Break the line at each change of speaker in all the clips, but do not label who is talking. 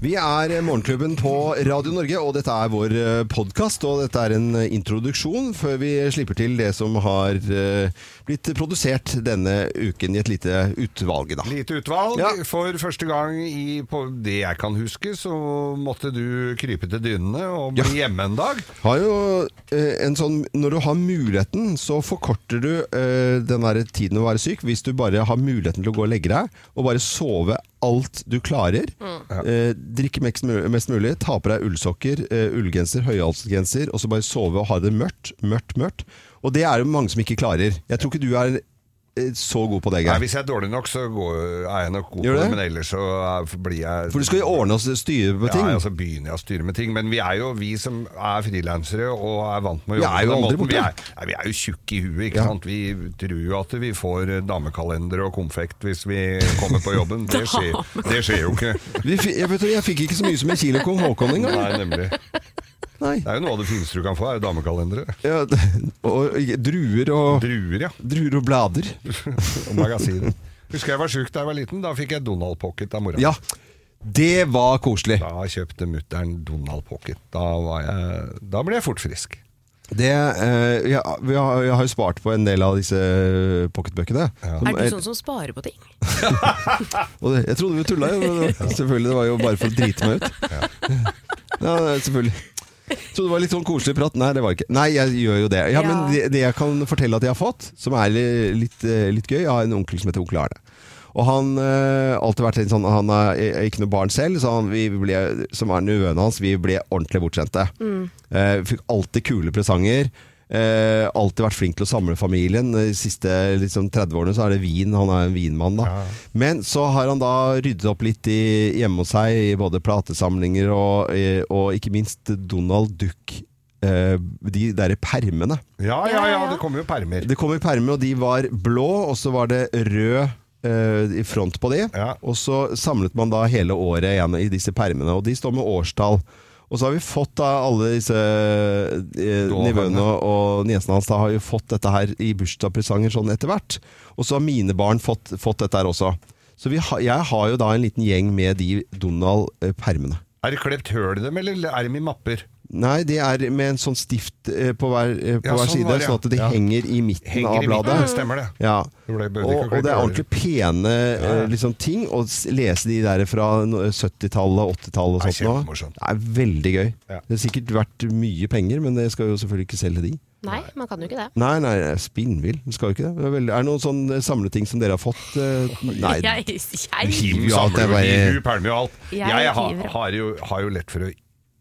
Vi er Morgenklubben på Radio Norge, og dette er vår podkast. Og dette er en eh, introduksjon før vi slipper til det som har eh, blitt produsert denne uken i et lite utvalg. Da.
Lite utvalg.
Ja.
For første gang i, på det jeg kan huske, så måtte du krype til dynene og bli hjemme en dag.
Har jo eh, en sånn, når du har muligheten, så forkorter du eh, den der tiden å være syk hvis du bare har muligheten til å gå og legge deg og bare sove alt du klarer. Eh, drikke mest, mu- mest mulig, ta på deg ullsokker, eh, ullgenser, høyhalsgenser, og så bare sove og ha det mørkt, mørkt, mørkt. Og det er det mange som ikke klarer. Jeg tror ikke du er eh, så god på det,
Nei,
Geir.
hvis jeg er dårlig nok, så går, er jeg nok god
Gjør
på det,
det?
men ellers så er, blir jeg
For du skal jo ordne og styre på ting.
Ja, altså begynner jeg å styre med ting. Men vi er jo vi som er frilansere og er vant med å
Vi
jobbe
er jo
på den
aldri
måten. Vi
borte.
er, nei, vi er jo tjukke i huet, ikke
Ja.
sant. Vi tror jo at vi får eh, damekalender og konfekt hvis vi kommer på jobben. Det skjer, det skjer jo ikke.
Vi fi- jeg, vet, jeg fikk ikke så mye som en kilo kong Haakon engang.
Nei, nemlig. Det
Nei.
er jo noe av det fineste du kan få, er jo damekalendere.
Ja, og druer og
Druer, ja.
Druer og blader.
Og magasiner. Husker jeg var sjuk da jeg var liten. Da fikk jeg Donald Pocket av mora.
Ja, det var koselig.
Da kjøpte mutter'n Donald Pocket. Da, var jeg, da ble jeg fort frisk.
Det, eh, ja, vi har, jeg har jo spart på en del av disse eh, pocketbøkene. Som
Er du
er-
sånn som sparer på ting?
og det- jeg trodde vi tulla, jo, men det- selvfølgelig. Det var jo bare for å drite meg ut. Ja, det er selvfølgelig. Jeg trodde det var litt sånn koselig prat. Nei, det var ikke. Nei, jeg gjør jo det. Ja,
Ja.
Men det, det jeg kan fortelle at jeg har fått, som er li- litt, eh, litt gøy Jeg har en onkel som heter onkel Arne. Og han eh, alltid vært litt sånn Han er er ikke noe barn selv, så han, vi ble, som er nevøen hans, vi ble ordentlig bortskjemte. Eh, fikk alltid kule presanger. Eh, alltid vært flink til å samle familien. De siste liksom, 30 årene så er det vin. Han er en vinmann, da. Men så har han da ryddet opp litt i, hjemme hos seg, i både platesamlinger og, eh, og ikke minst Donald Duck. Eh, de derre permene.
Ja, ja,
Ja,
ja,
ja.
det kommer jo permer.
Det kom i permer, og de var blå, og så var det rød eh, i front på de.
Ja.
Og så samlet man da hele året igjen i disse permene, og de står med årstall. Og så har vi fått da alle disse eh,
Da,
nivåene og niesene hans da har jo fått dette her i bursdagspresanger sånn etter hvert. Og så har mine barn fått, fått dette her også. Så vi har- jeg har jo da en liten gjeng med de eh, Donald-permene.
Er det klept høl i dem, eller er de i mapper?
Nei, de er med en sånn stift eh, på hver, eh, på
Ja,
hver
sånn
side,
var det, ja.
sånn at de
Ja.
henger i midten
Henger
av
i midten,
bladet.
det stemmer det.
Ja.
Det ble- ble
og,
ikke
og det er
klart.
ordentlig pene eh, liksom, ting å s- lese de der fra no- 70-tallet, 80-tallet og
Det er
sånt. nå.
kjempemorsomt.
Det er veldig gøy.
Ja.
Det er sikkert verdt mye penger, men det skal jo selvfølgelig ikke selge de.
Nei, man kan jo ikke det.
Nei, nei, jeg er spinnvill. Det skal jo ikke det. det er, veldig, er det noen sånne samleting som dere har fått? eh, Nei.
Jeg, jeg,
hiver jo alt,
Samler
jeg
jo
bare-
hiv, permer jo alt.
Jeg
Jeg, har,
hiver.
har, jo, har jo lett for å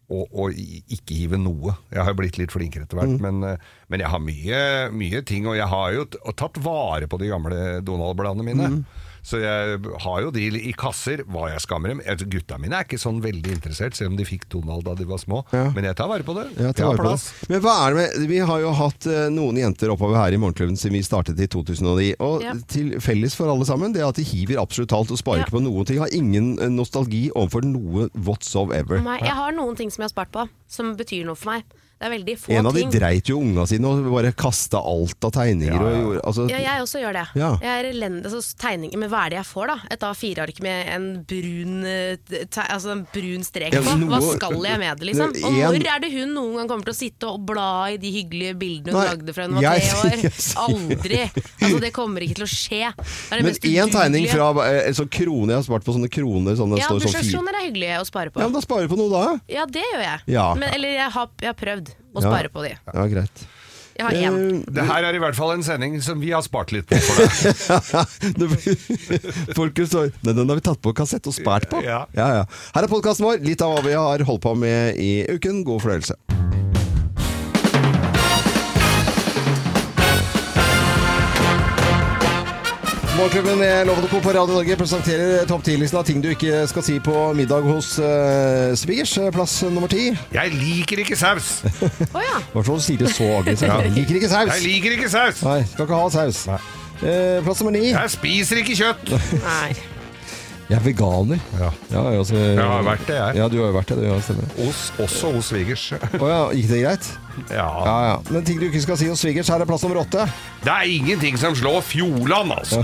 å, å i- ikke hive noe. Jeg har blitt litt flinkere etter
Mm.
hvert, men, eh, men jeg har mye, mye ting. Og jeg har jo t- og tatt vare på de gamle Donald-bladene mine.
Mm.
Så jeg har jo de i kasser, hva jeg skammer dem. Altså, Gutta mine er ikke sånn veldig interessert, selv om de fikk Donald da de var små.
Ja.
Men jeg tar vare på det.
Ja, ta
jeg
vare
har
på
plass.
det. Men hva er det med Vi har jo hatt eh, noen jenter oppover her i Morgenklubben siden vi startet i 2009. Og
Ja.
til felles for alle sammen, det er at de hiver absolutt alt og sparer
Ja.
ikke på noen ting. Har ingen eh, nostalgi overfor noe whatsoever.
nei, jeg har noen ting som jeg har spart på, som betyr noe for meg. Det er veldig få
En av de
ting.
dreit jo unga sine og bare kasta alt av tegninger
Ja, ja.
og gjorde altså,
Ja, jeg også gjør det.
Ja.
Jeg er elendig så tegninger, men hva er det jeg får, da? Et A4-ark med en brun, eh, te, altså en brun strek
Ja,
på. Hva
noe-
skal jeg med det, liksom? Og
En-
når er det hun noen gang kommer til å sitte og bla i de hyggelige bildene hun
Nei,
lagde fra hun var
jeg-
tre år?
jeg sier-
Aldri! Altså, det kommer ikke til å skje. Det er det
Men
mest
én tegning
udugelige.
fra eh, en sånn krone Jeg har spart på sånne kroner. Sånne,
Ja,
står sånn fire-
bursdagsjoner er hyggelige å spare på.
ja, men da sparer du på noe da.
Ja, det gjør jeg.
Ja.
Men, eller jeg har, jeg har prøvd å
Ja.
spare på de.
Ja, greit.
Jeg har én.
Eh,
Det her er i hvert fall en sending som vi har spart litt på for deg.
Det blir- Folk står Nei, den har vi tatt på kassett og spart på.
Ja.
Ja, ja. Her er podkasten vår. Litt av hva vi har holdt på med i uken. God fornøyelse. Morgenklubben med Lovende Co. på Radio Norge presenterer topp 10-listen av ting du ikke skal si på middag hos uh, svigers. Plass nummer ti. I
Jeg liker ikke saus!
Eh.
Å ja.
hvert fall sier det så aggressivt.
Ja.
Liker ikke saus.
Jeg liker ikke saus!
Nei, skal ikke ha saus. Eh, plass nummer ni.
Jeg spiser ikke kjøtt!
Nei.
Jeg er veganer.
Ja.
Ja, jeg, også,
Jeg har vært det, jeg.
Ja, du har jo vært det. det ja, stemmer.
Hos, også hos svigers.
Å ja, gikk det greit? Ja,
Ja.
ja. Men ting du ikke skal si hos svigers, her er plass nummer åtte.
Det er ingenting som slår Fjordland, altså!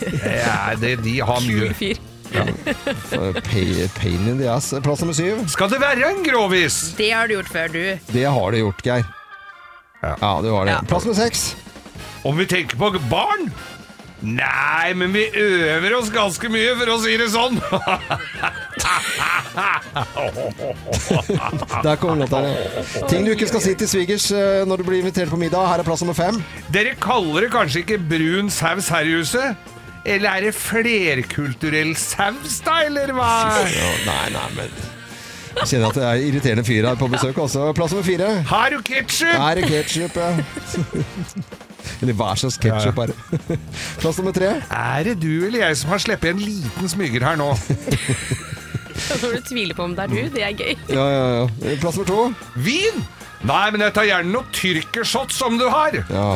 Det er det de har mye
Kul fyr.
Eh, Pay- Pain in the ass. Plass nummer syv.
Skal det være en grovis?
Det har du gjort før, du.
Det har du gjort, Geir.
Ja.
Ja, du har det.
Ja.
Plass nummer seks.
Om vi tenker på barn? Nei, men vi øver oss ganske mye, for å si det sånn.
Der kommer låta. Ting du ikke skal si til svigers eh, når du blir invitert på middag. Her er plass nummer fem.
Dere kaller det kanskje ikke brun saus her i huset? Eller er det flerkulturell saus, da, eller hva?
Nei, nei, men Jeg Kjenner at det er irriterende fyr her på besøk også. Plass nummer fire.
Har du ketsjup?
Her er ketsjup, ja. Eller hva slags ketsjup er det? Plass nummer tre.
Er det du eller jeg som har sluppet en liten smyger her nå?
Når du tviler på om det er du, det er gøy.
Ja, ja, ja. Plass nummer to.
Vin? Nei, men jeg tar gjerne noe tyrkershots som du har.
Ja.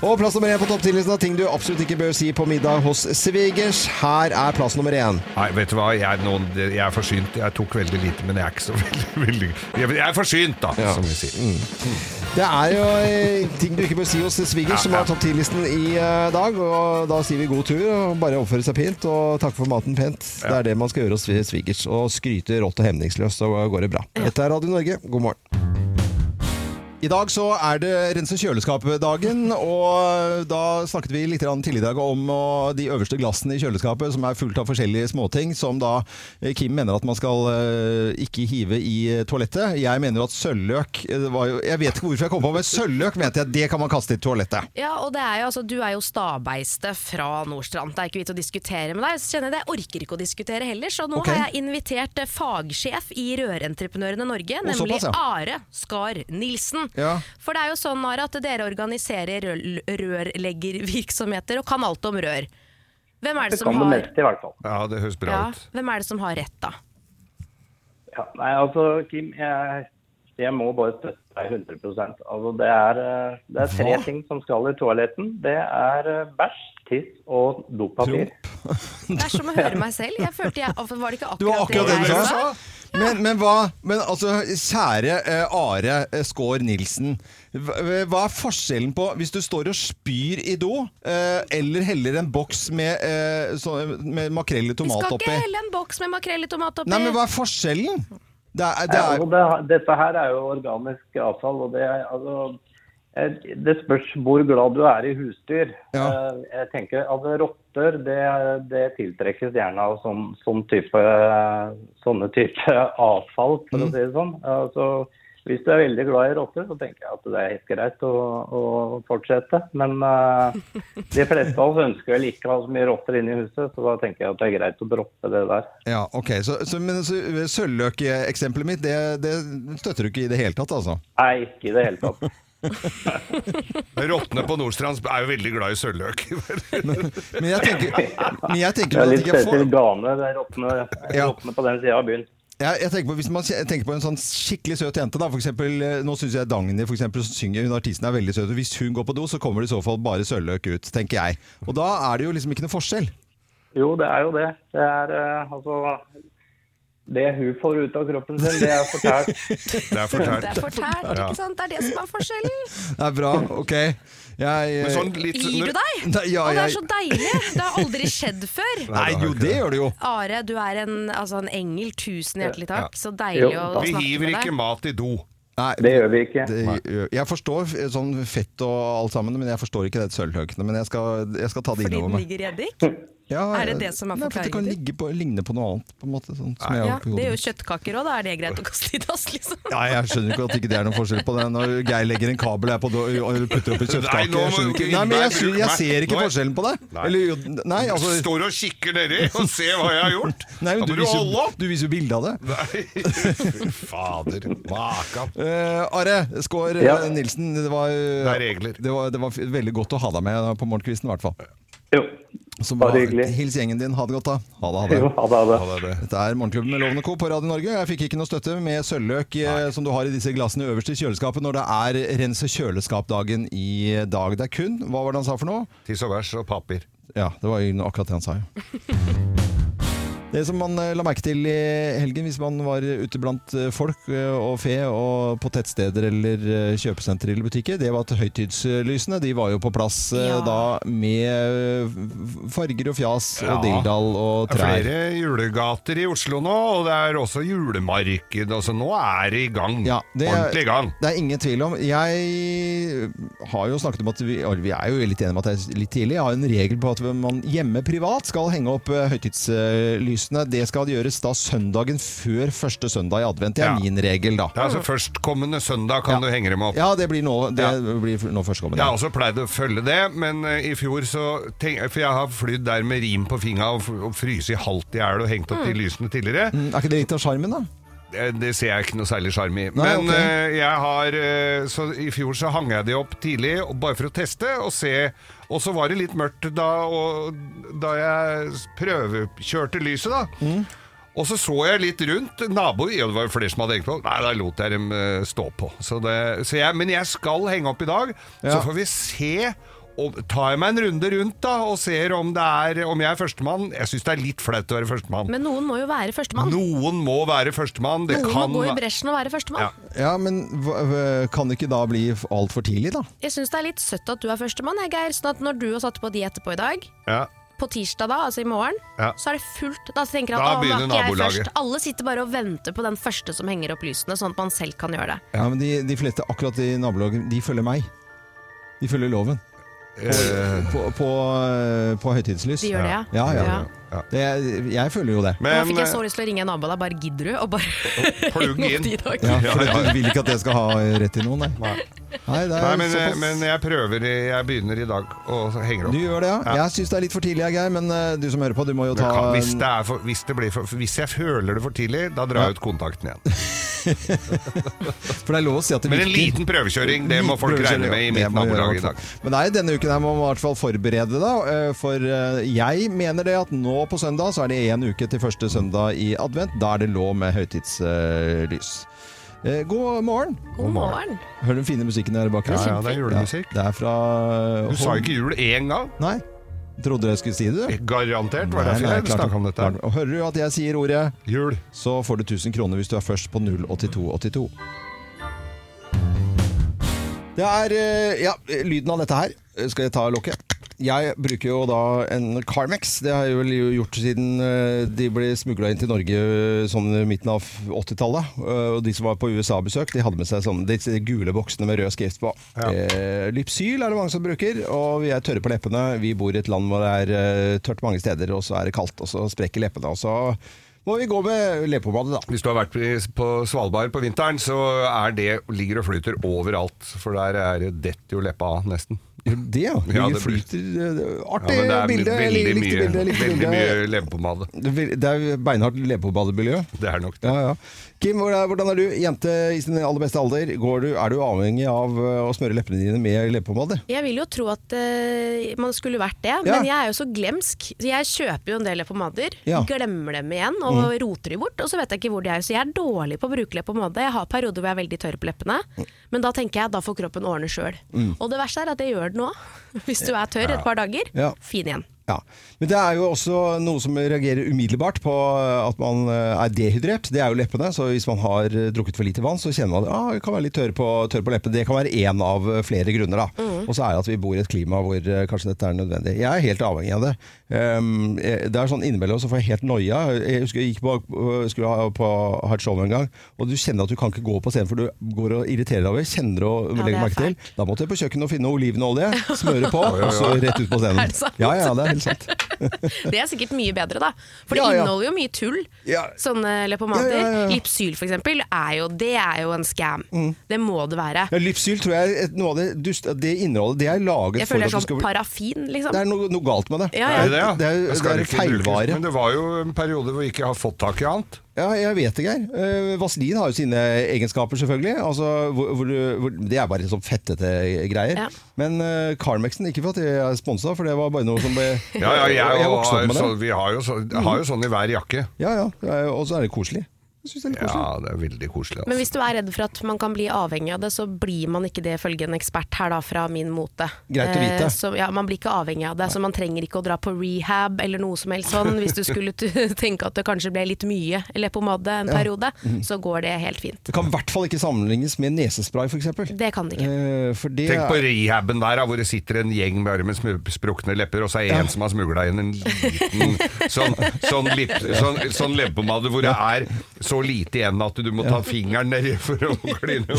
Og plass nummer én på topp 10-listen av ting du absolutt ikke bør si på middag hos svigers. Her er plass nummer én.
Nei, vet du hva, jeg, er nå- jeg er forsynt. Jeg tok veldig lite, men jeg er ikke så veldig, veldig Jeg jeg er forsynt, da,
Ja.
som vi sier. Mm.
Det er jo eh, ting du ikke bør si hos svigers, som er topp 10-listen i eh, dag. Og da sier vi god tur, og bare oppføre seg pent, og takke for maten pent. Det er det man skal gjøre hos svigers. Og skryte rått og hemningsløst, så går det bra. Dette er Radio Norge, god morgen. I dag så er det rense kjøleskapet-dagen, og da snakket vi litt grann tidligere i dag om og de øverste glassene i kjøleskapet som er fullt av forskjellige småting, som da eh, Kim mener at man skal eh, ikke hive i eh, toalettet. Jeg mener jo at sølvløk eh, det var jo, Jeg vet ikke hvorfor jeg kom på, men sølvløk mente jeg det kan man kaste i toalettet.
Ja, og det er jo, altså, Du er jo stabeiste fra Nordstrand. Det er ikke vits å diskutere med deg. Så kjenner jeg det, jeg orker ikke å diskutere heller, så nå
Ok.
har jeg invitert eh, fagsjef i Rørentreprenørene Norge,
Å,
nemlig
såpass, ja.
Are Skar Nilsen.
Ja.
For det er jo sånn Are, at dere organiserer rør rørleggervirksomheter og kan alt om rør. Hvem er det
Det
som
kan det
har,
meste, i hvert fall.
Ja, det høres bra
ja,
ut.
hvem er det som har rett, da?
Ja, nei, altså, Kim, jeg, jeg må bare støtte deg 100 altså, det, er, eh, det er tre ting som skal i toaletten. Det er eh, bæsj, tiss og dopapir.
Det er som å høre meg selv. Jeg følte jeg, Var det ikke akkurat,
Det var akkurat det du
jeg
sa. Men, men hva Men altså, kjære eh, Are eh, Skaar Nilsen. Hva, eh, hva er forskjellen på hvis du står og spyr i do, eh, eller heller en boks med, eh, så, med makrell i
Vi
tomat
skal
oppi?
ikke helle en boks med makrell i tomat oppi.
Nei, men hva er forskjellen? Det er, det
Ja,
er,
altså, det, dette her er jo organisk avfall, og det, er- altså, eh, det spørs hvor glad du er i husdyr.
Ja.
Eh, Jeg tenker at Rotter det, det tiltrekkes gjerne av sånn, sånn type, eh, sånne type avfall, for å si det sånn. Altså, hvis du er veldig glad i rotter, så tenker jeg at det er helt greit å, å fortsette. Men eh, de fleste av oss ønsker vel ikke å ha så mye rotter inne i huset, så da tenker jeg at det er greit å droppe det der.
ja, ok. Så, så, men så, sølvløkeksempelet mitt, det, det støtter du ikke i det hele tatt, altså?
Nei, ikke i det hele tatt.
Rottene på Nordstrand er jo veldig glad i sølvløk.
Men jeg tenker, men jeg tenker
Det er
at
litt
ikke
spesiell
får-
gane, det er råtne,
Ja.
råtne på den sida av byen.
Ja, jeg tenker på, hvis man kje- tenker på en sånn skikkelig søt jente, da, for eksempel, eh, nå syns jeg Dagny for eksempel, synger, hun artisten er veldig søt, og hvis hun går på do, så kommer det i så fall bare sølvløk ut, tenker jeg. Og da er det jo liksom ikke noe forskjell.
Jo, det er jo det. Det er eh, altså Det hun får ut av kroppen sin, det er fortært.
Det er
Det
fortært.
er fortært, ikke sant? Det er det som er forskjellen.
Det er bra, ok. Jeg, eh,
Men sånn litt
Gir du deg?
Nei, ja,
Og det er
jeg-
sånn- så deilig! Det har aldri skjedd før.
Nei, jo, det gjør det jo.
Are, du er en, altså en engel. Tusen hjertelig takk. Så deilig
Jo,
å
takk.
Vi
snakke
hiver
med
ikke
deg.
mat i do.
Nei,
Det gjør vi ikke.
det, gjør- jeg forstår eh, sånn fett og alt sammen, men jeg forstår ikke det sølvløkene. Men jeg skal, jeg skal ta det
Fordi
innover
den
meg.
ligger i eddik?
Ja,
Er det det som er
nei, for Det kan
forklaringen
ligge på, ligne på noe annet, på en måte. Sånn, som jeg
Ja,
har oppi
det
hodet.
gjør jo kjøttkaker òg, da er det greit å kaste i dass, liksom.
Nei, jeg skjønner ikke at ikke det er noen forskjell på det. Når Geir legger en kabel her på do og putter opp i
Nei,
kjøttkake.
nå må
Jeg skjønner ikke.
du-
Nei, men jeg, sy- jeg
Nei,
ser ikke
nå er-
forskjellen på det.
Nei.
Eller, jo, nei, altså
Står og kikker nedi og ser hva jeg har gjort.
nei, men du,
da må du
viser,
holde opp!
du viser jo bilde av det.
Nei, fy fader. Makan.
Eh, Are Skaar
Ja.
eh, Nilsen, det var, eh,
Det er regler.
Det var, det var f- veldig godt å ha deg med på morgenkvisten, i hvert fall.
Jo.
Så
Bare
bra.
hyggelig.
Hils gjengen din. Ha det godt, da. Ha det, ha det.
jo ha det, ha det.
Ja, det er det.
Dette er Morgenklubben med Lovende Co. på Radio Norge. Jeg fikk ikke noe støtte med sølvløk eh, som du har i disse glassene øverst i kjøleskapet når det er rense kjøleskap-dagen i dag. Det er kun Hva var det han sa for noe?
Tiss og bæsj og papir.
Ja, det var jo akkurat det han sa, jo. Det som man eh, la merke til i helgen, hvis man var ute blant eh, folk eh, og fe og på tettsteder eller eh, kjøpesentre eller butikker, det var at høytidslysene de var jo på plass eh,
Ja.
da med eh, farger og fjas
Ja.
og dilldall og
Det er
trær.
flere julegater i Oslo nå, og det er også julemarked. Altså, nå er det i gang.
Ja, det er-
Mm. Ordentlig i gang.
Det er ingen tvil om. Jeg har jo snakket om at vi, eller vi er jo litt enige om at det er litt tidlig. Jeg har en regel på at man hjemme privat skal henge opp eh, høytidslysene. Det skal gjøres da søndagen før første søndag i advent. Det er
Ja.
min regel, da.
Det er altså Førstkommende søndag
Ja.
kan du henge dem opp.
Ja, det blir nå, det
Ja.
blir nå førstkommende.
Jeg har også pleid å følge det, men eh, i fjor så tenk, For jeg har flydd der med rim på fingra og, f- og fryst i halvt i hjel og hengt opp de lysene tidligere.
Mm, Er ikke det litt av sjarmen, da?
Eh, Det ser jeg ikke noe særlig sjarm i.
Nei,
Men
ok.
eh, jeg har eh, Så i fjor så hang jeg de opp tidlig, og bare for å teste og se. Og så var det litt mørkt da, og, da jeg s- prøvekjørte lyset, da.
Mm.
Og så så jeg litt rundt. Naboer ja, det var jo flere som hadde hengt på. Nei, da lot jeg dem eh, stå på. Så det, så jeg, men jeg skal henge opp i dag. Så
Ja.
får vi se. Og tar jeg meg en runde rundt da og ser om, det er, om jeg er førstemann. Jeg syns det er litt flaut å være førstemann.
Men noen må jo være førstemann.
Noen må være førstemann. Det
Noen må
kan
gå i
være-
bresjen og være førstemann.
Ja.
Ja, men hva- hva- kan det ikke da bli altfor tidlig, da?
Jeg syns det er litt søtt at du er førstemann, jeg, Geir. Sånn at når du og satte på de etterpå i dag,
Ja.
på tirsdag da, altså i morgen,
Ja.
så er det fullt. Da tenker jeg
Da
at da var
begynner
ikke jeg
nabolaget.
først. Alle sitter bare og venter på den første som henger opp lysene, sånn at man selv kan gjøre det.
Ja, men De, de fleste akkurat i nabolaget, de følger meg. De følger loven.
Eh,
På, på, eh, på høytidslys.
De gjør det, ja.
Ja, Ah, ja.
Ja.
Ja.
Det, jeg følger jo det.
Nå
men eh,
fikk jeg så lyst til å ringe en nabo av deg, bare gidder du? Og bare
Plugg
henge opp
inn.
de i dag.
Ja,
Ja,
for
ja, ja.
Du vil ikke at jeg skal ha rett til noen, nei. nei det er
Nei, men, eh,
såpass-
men jeg prøver i- Jeg begynner i dag og så
Du
henger opp.
gjør det, ja?
Ja.
Jeg syns det er litt for tidlig, jeg, Geir, men eh, du som hører på, du må jo
Men
ta
kan, hvis, det er for, hvis, det blir for, hvis jeg føler det for tidlig, da drar jeg ut kontakten igjen.
For det er lov å si at det
Men en
virker.
liten prøvekjøring, det må folk regne med i
Det
mitt
må vi
nabolag i
gjøre,
dag.
altså. Men nei, denne uken her må man i hvert fall forberede det. da, eh, For eh, jeg mener det at nå på søndag så er det én uke til første søndag i advent. Da er det lov med høytidslys. Eh, God morgen.
God morgen.
Hører du den fine musikken der bak? her?
Ja, ja, det er julemusikk.
Ja, det er fra
Du sa ikke jul én gang.
Nei. Trodde jeg skulle si det, du.
Garantert var
Nei,
det derfor
nei,
jeg
klart
snakka om dette.
Og hører du at jeg sier ordet,
Jul.
så får du 1000 kroner hvis du er først på 08282. Det er eh, ja, lyden av dette her. Eh, Skal jeg ta lokket? Jeg bruker jo da en Carmex. Det har jeg vel gjort siden eh, de ble smugla inn til Norge eh, sånn i midten av 80-tallet. Eh, Og de som var på USA-besøk, de hadde med seg sånne disse gule boksene med rød skrift på. Eh, Lypsyl er det mange som bruker, og vi er tørre på leppene. Vi bor i et land hvor det er eh, tørt mange steder, og så er det kaldt, og så sprekker leppene. Og så må vi gå med leppepomade, da.
Hvis du har vært i- på Svalbard på vinteren, så er det, ligger og flyter overalt. For der er det detter jo leppa av, nesten.
Det, ja.
Ja,
det
det blir-
flyter eh,
Ja,
Artig
men det er
bilde.
veldig
Likte
mye,
bildet. Likte
veldig
bildet.
mye leverpomade.
Det vil- Det er beinhardt leverpostbademiljø.
Det er nok det.
Ja, ja. Kim, hvordan hvordan er du? Jente i sin aller beste alder. Går du, er du avhengig av eh, å smøre leppene dine med leppepomade?
Jeg vil jo tro at eh, man skulle vært det,
Ja.
men jeg er jo så glemsk. Så jeg kjøper jo en del leppepommader,
Ja. Mhm.
glemmer dem igjen og roter de bort. Og så vet jeg ikke hvor de er. Så jeg er dårlig på å bruke leppepomade. Jeg har perioder hvor jeg er veldig tørr på leppene, men da tenker jeg at da får kroppen ordne sjøl. Og det verste er at jeg gjør det nå. Hvis du er tørr et par dager,
Mm. Ja.
fin igjen.
Ja. Men det er jo også noe som reagerer umiddelbart på eh, at man eh, er dehydrert. Det er jo leppene. Så hvis man har eh, drukket for lite vann, så kjenner man at ah, jeg kan være litt tørr på, tørr på leppene. Det kan være én av eh, flere grunner. da.
Mm.
Og så er det at vi bor i et klima hvor eh, kanskje dette er nødvendig. Jeg er helt avhengig av det. Um, eh, det er sånn Innimellom så får jeg helt noia. Jeg husker jeg gikk på, øh, skulle ha på hardt show en gang, og du kjenner at du kan ikke gå på scenen, for du går og irriterer deg over kjenner og
Ja, det er
legger merke til. Da måtte jeg på kjøkkenet og finne olivenolje, smøre på, og så rett ut på scenen.
Er det sant?
Ja, ja, det er helt sant.
Det er sikkert mye bedre, da. For det
Ja, ja.
inneholder jo mye tull.
Ja.
Sånne
Ja, Mm.
leppepomader.
ja, ja, ja.
Lipsyl, for eksempel, er jo, det er jo en scam. Det må det være.
Ja, Lypsyl tror jeg et- noe av det, dust, det innholdet det er laget
Jeg
for
føler
at
det
du
er sånn
skal bli
parafin, liksom.
Det er noe, noe galt med det.
Ja,
Er
ja.
det det, ja?
Det er,
Jeg
det
skal
er
ikke bruke-
feilvare.
Men det var jo en periode hvor vi ikke har fått tak i annet.
Ja, jeg vet det, Geir. Eh, Vaselin har jo sine egenskaper, selvfølgelig. Altså, hvor, hvor, du- hvor, det er bare sånn fettete greier.
Ja.
Men eh, Carmexen, ikke for at jeg er sponsa, for det var bare noe som ble
Ja, ja, jeg,
jeg
og
vokste opp
har,
med
så,
det.
vi har jo, så, har jo sånn i hver jakke.
Ja, ja. Og så er det koselig.
Jeg synes det er litt koselig.
Ja, det er veldig koselig.
Men
Altså.
hvis du er redd for at man kan bli avhengig av det, så blir man ikke det, ifølge en ekspert her da, fra min mote.
Greit å vite.
Eh, Så, ja, man blir ikke avhengig av det, så man trenger ikke å dra på rehab eller noe som helst sånn. Hvis du skulle t- tenke at det kanskje ble litt mye leppepomade en periode,
Mhm.
så går det helt fint.
Det kan i hvert fall ikke sammenlignes med nesespray, f.eks.
Det kan det ikke.
Eh, for det
Tenk på
er-
rehaben der, da, hvor det sitter en gjeng bare med smu- sprukne lepper, og så er det en som har smugla inn en liten sånn, sånn, lip, sånn, sånn leppepomade hvor det er så lite igjen at du må ta fingeren nedi for å kline på.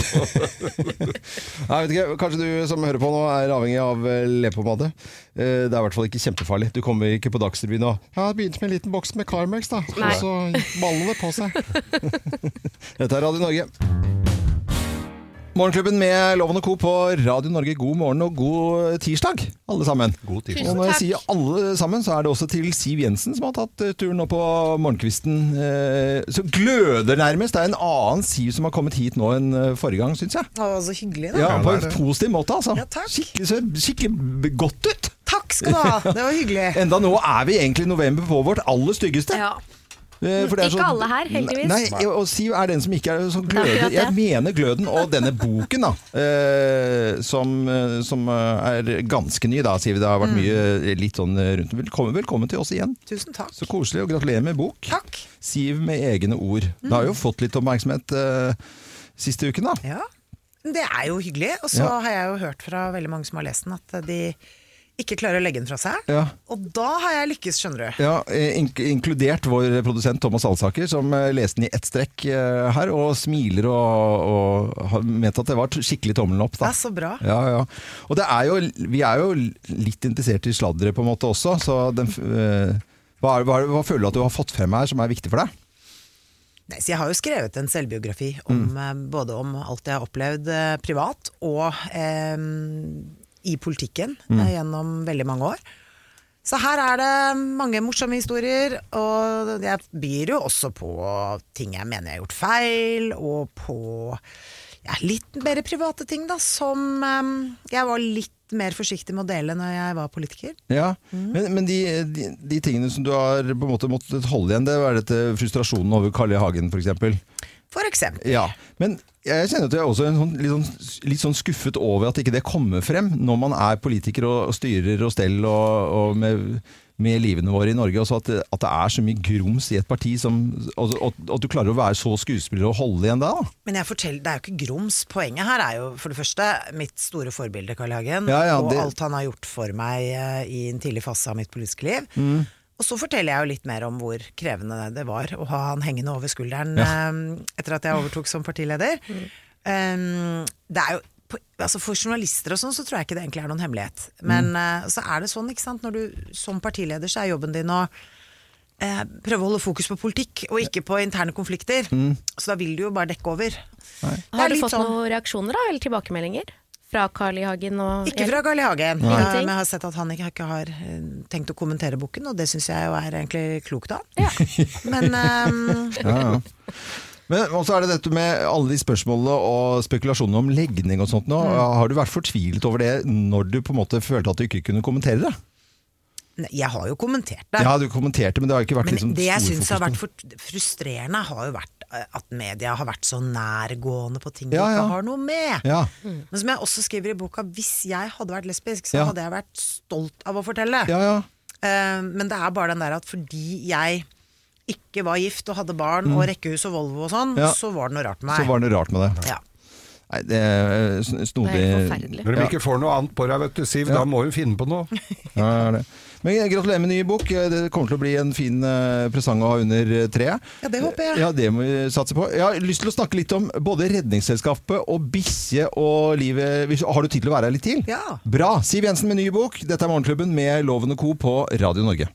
Nei, vet ikke, Kanskje du som hører på nå er avhengig av eh, leppepomade. Eh, Det er i hvert fall ikke kjempefarlig. Du kommer ikke på Dagsrevyen og Ja, det begynte med en liten boks med Carmex, da.
Nei.
Og så baller det på seg. Dette er Radio Norge. Morgenklubben med Loven og Co. på Radio Norge, god morgen og god tirsdag, alle sammen.
God tid.
Og
Tusen
når jeg
takk.
sier alle sammen, så er det også til Siv Jensen som har tatt eh, turen nå på morgenkvisten. eh, Så gløder nærmest. Det er en annen Siv som har kommet hit nå enn eh, forrige gang, syns jeg.
Å, så hyggelig, da.
Ja, på en
det er det.
positiv måte, altså.
Ja, takk.
Skikkelig, så, skikkelig godt ut.
Takk skal du ha. Det var hyggelig.
Enda nå er vi egentlig i november på vårt aller styggeste.
Ja.
Eh, for det er
Ikke alle her, heldigvis.
Nei, nei, og Siv er den som ikke er så gløder.
akkurat det.
Jeg mener gløden. Og denne boken, da. eh, som, eh, som eh, er ganske ny, da, Siv. Det har
Mm.
vært mye eh, litt sånn eh, rundt. Velkommen, velkommen til oss igjen.
Tusen takk.
Så koselig, og gratulerer med bok.
Takk.
Siv med egne ord. Det
Mm.
har jo fått litt oppmerksomhet eh, siste uken, da.
Ja. Men Det er jo hyggelig. Og så
Ja.
har jeg jo hørt fra veldig mange som har lest den, at de ikke klarer å legge den fra seg.
Ja.
Og da har jeg lykkes, skjønner du.
Ja, eh, ink inkludert vår produsent Thomas Alsaker, som eh, leste den i ett strekk eh, her, og smiler og, og har ment at det var t- skikkelig tommelen opp. Da.
Ja, så bra.
Ja, ja. Og det er jo, vi er jo litt interessert i sladdere på en måte også, så den, f- eh, hva, er- hva, er- hva føler du at du har fått frem her som er viktig for deg?
Nei, så jeg har jo skrevet en selvbiografi om, eh, både om alt jeg har opplevd eh, privat og eh, i politikken eh, gjennom veldig mange år. Så her er det mange morsomme historier, og jeg byr jo også på ting jeg mener jeg har gjort feil, og på ja, litt mer private ting, da, som eh, jeg var litt mer forsiktig med å dele når jeg var politiker.
Ja, Men, men de, de, de tingene som du har på en måte måttet holde igjen, det er dette frustrasjonen over Karl I. Hagen f.eks.?
For eksempel.
Ja, men jeg kjenner at jeg er også en sånn, litt, sånn, litt sånn skuffet over at ikke det kommer frem når man er politiker og, og styrer og steller og, og med, med livene våre i Norge. Og så at, det- at det er så mye grums i et parti, som, og, og, og at du klarer å være så skuespiller og holde igjen da. da.
Men jeg forteller, det er jo ikke grums. Poenget her er jo for det første mitt store forbilde, Carl I. Hagen,
Ja, ja, det-
og alt han har gjort for meg eh, i en tidlig fase av mitt politiske liv.
Mm.
Og så forteller jeg jo litt mer om hvor krevende det var å ha han hengende over skulderen eh, etter at jeg overtok som partileder. Eh, det er jo på- Altså For journalister og sånn så tror jeg ikke det egentlig er noen hemmelighet. Men
Mm.
eh, så er det sånn, ikke sant. Når du som partileder så er jobben din å eh, prøve å holde fokus på politikk, og ikke på interne konflikter.
Mm.
Så da vil du jo bare dekke over. Det er
Har du
litt
fått
sånn-
noen reaksjoner da, eller tilbakemeldinger? Fra Carl I. Hagen og
Ikke fra Carl I. Hagen,
Nei.
Ja,
Ingenting.
men jeg har sett at han ikke, ikke har eh, tenkt å kommentere boken, og det syns jeg jo er egentlig klokt av.
Ja.
Men ehm,
Men også er det dette med alle de spørsmålene og spekulasjonene om legning og sånt nå.
Mm.
Har du vært fortvilet over det når du på en måte følte at du ikke kunne kommentere det?
nei, jeg har jo kommentert det.
Ja, du kommenterte, men det har ikke vært
Men
liksom
det jeg
storfokus
syns har
på det.
vært fort- frustrerende, har jo vært eh, at media har vært så nærgående på ting
Ja,
de
ja.
ikke har noe med.
Ja.
Men som jeg også skriver i boka, hvis jeg hadde vært lesbisk, så
Ja.
hadde jeg vært stolt av å fortelle.
Ja, ja.
Eh, Men det er bare den der at fordi jeg ikke var gift og hadde barn og rekkehus og Volvo og sånn,
Mm. Ja.
så var det noe rart med
Så
meg.
var det noe rart med det.
Ja.
Nei, det er sn- snodig
Det er helt forferdelig.
Når de ikke får noe annet på deg, vet du, Siv, da må hun finne på noe.
Ja, det er det. Men jeg gratulerer med ny bok. Eh, Det kommer til å bli en fin eh, presang å ha under eh, treet.
Ja, det håper jeg.
Ja, det må vi satse på. Jeg har lyst til å snakke litt om både Redningsselskapet og bikkje og livet Hvis- Har du tid til å være her litt til?
Ja.
Bra! Siv Jensen med ny bok. Dette er Morgenklubben med Loven og Co. på Radio Norge.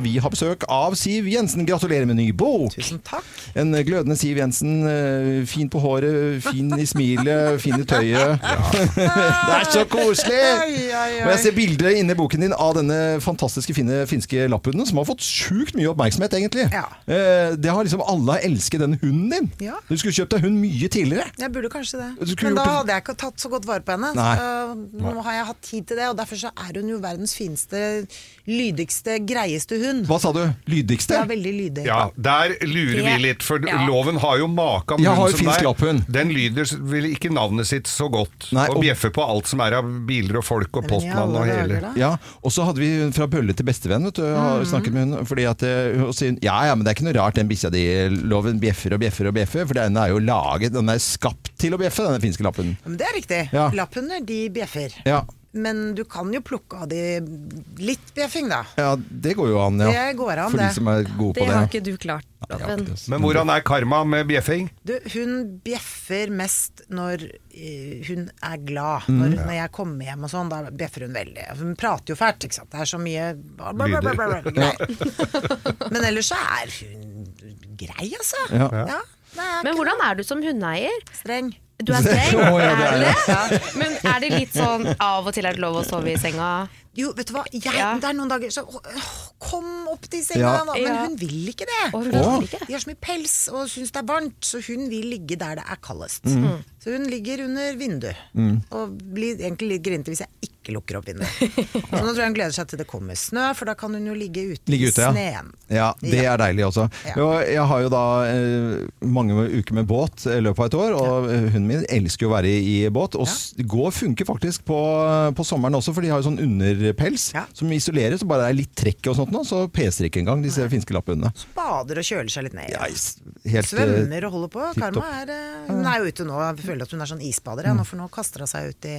Vi har besøk av Siv Jensen. Gratulerer med ny bok!
Tusen takk.
En glødende Siv Jensen. eh, Fin på håret, fin i smilet, fin i tøyet. Det er så koselig! Og jeg ser bilder inne i boken din av denne fantastiske fine finske lapphunden, som har fått sjukt mye oppmerksomhet, egentlig.
Ja.
Eh, Det har liksom alle elsket den hunden din.
Ja.
Du skulle kjøpt deg hund mye tidligere.
Jeg burde kanskje det.
Du skulle
Men da
gjort det-
hadde jeg ikke tatt så godt vare på henne.
Nei.
Så, øh, nå har jeg hatt tid til det, og derfor så er hun jo verdens fineste, lydigste, greieste hund. Lysund.
Hva sa du? Lydigste?
Ja, veldig lydig.
Ja, der lurer vi
Det-
litt, for
ja.
loven har jo maka munn
Jeg har jo
som
finsk
deg.
lapphund.
Den lyder s- vel ikke navnet sitt så godt,
Nei,
og,
og-
bjeffer på alt som er av biler og folk og
Men i alle
postmann og
dager,
hele.
da.
Ja, og så hadde vi hun fra bølle til bestevenn, vet du, har snakket med hun, fordi at eh, hun sier, ja, ja, men det er ikke noe rart den bikkja di, loven bjeffer og bjeffer og bjeffer, for den er jo laget, den er skapt til å bjeffe, denne finske lappen.
Men det er riktig.
Ja.
Lapphunder, de bjeffer.
Ja,
Men du kan jo plukke av de litt bjeffing, da.
ja det går jo an, ja.
Det går an,
For de
det.
som er gode
Det
på det.
har ikke du klart, Loven.
Men hvordan er karma med bjeffing?
Du, hun bjeffer mest når eh, hun er glad.
Mm.
Når, når jeg kommer hjem og sånn, da bjeffer hun veldig. Altså, Hun prater jo fælt, ikke sant. Det er så mye bla, bla, bla, bla, bla, bla, greier. Men ellers så er hun grei, altså.
Ja.
ja det er
Men hvordan er du som hundeeier?
ikke streng.
Du er streng,
Å, ja, det er
er
jeg.
det? Men er det litt sånn av og til er det lov å sove i senga?
Jo, vet du hva, jeg,
Ja.
det er noen dager så åh, Kom opp til senga,
Ja.
da. Men
Ja.
hun vil ikke det.
Og hun vil ikke.
De har så mye pels og syns det er varmt, så hun vil ligge der det er kaldest.
Mm.
Så hun ligger under vinduet, og blir egentlig litt grinete hvis jeg ikke lukker opp vinduet. Så nå tror jeg hun gleder seg til det kommer snø, for da kan hun jo ligge ute
Ligge ute,
i
ja.
sneen.
Ja, det er deilig også.
Ja.
Jo, Jeg har jo da eh, mange uker med båt i løpet av et år, og eh, hunden min elsker jo å være i i båt. Og s- gå funker faktisk på, på sommeren også, for de har jo sånn underpels
Ja.
som isolerer, så bare det er litt trekk og sånt nå, så peser ikke engang disse finske lapphundene.
Bader og kjøler seg litt ned.
Ja, is- helt, eh,
Svømmer og holder på.
tipp Mm.
Karma er, eh, hun er jo ute nå. Jeg føler at hun er sånn isbader, ja, nå, for nå kaster hun seg ut i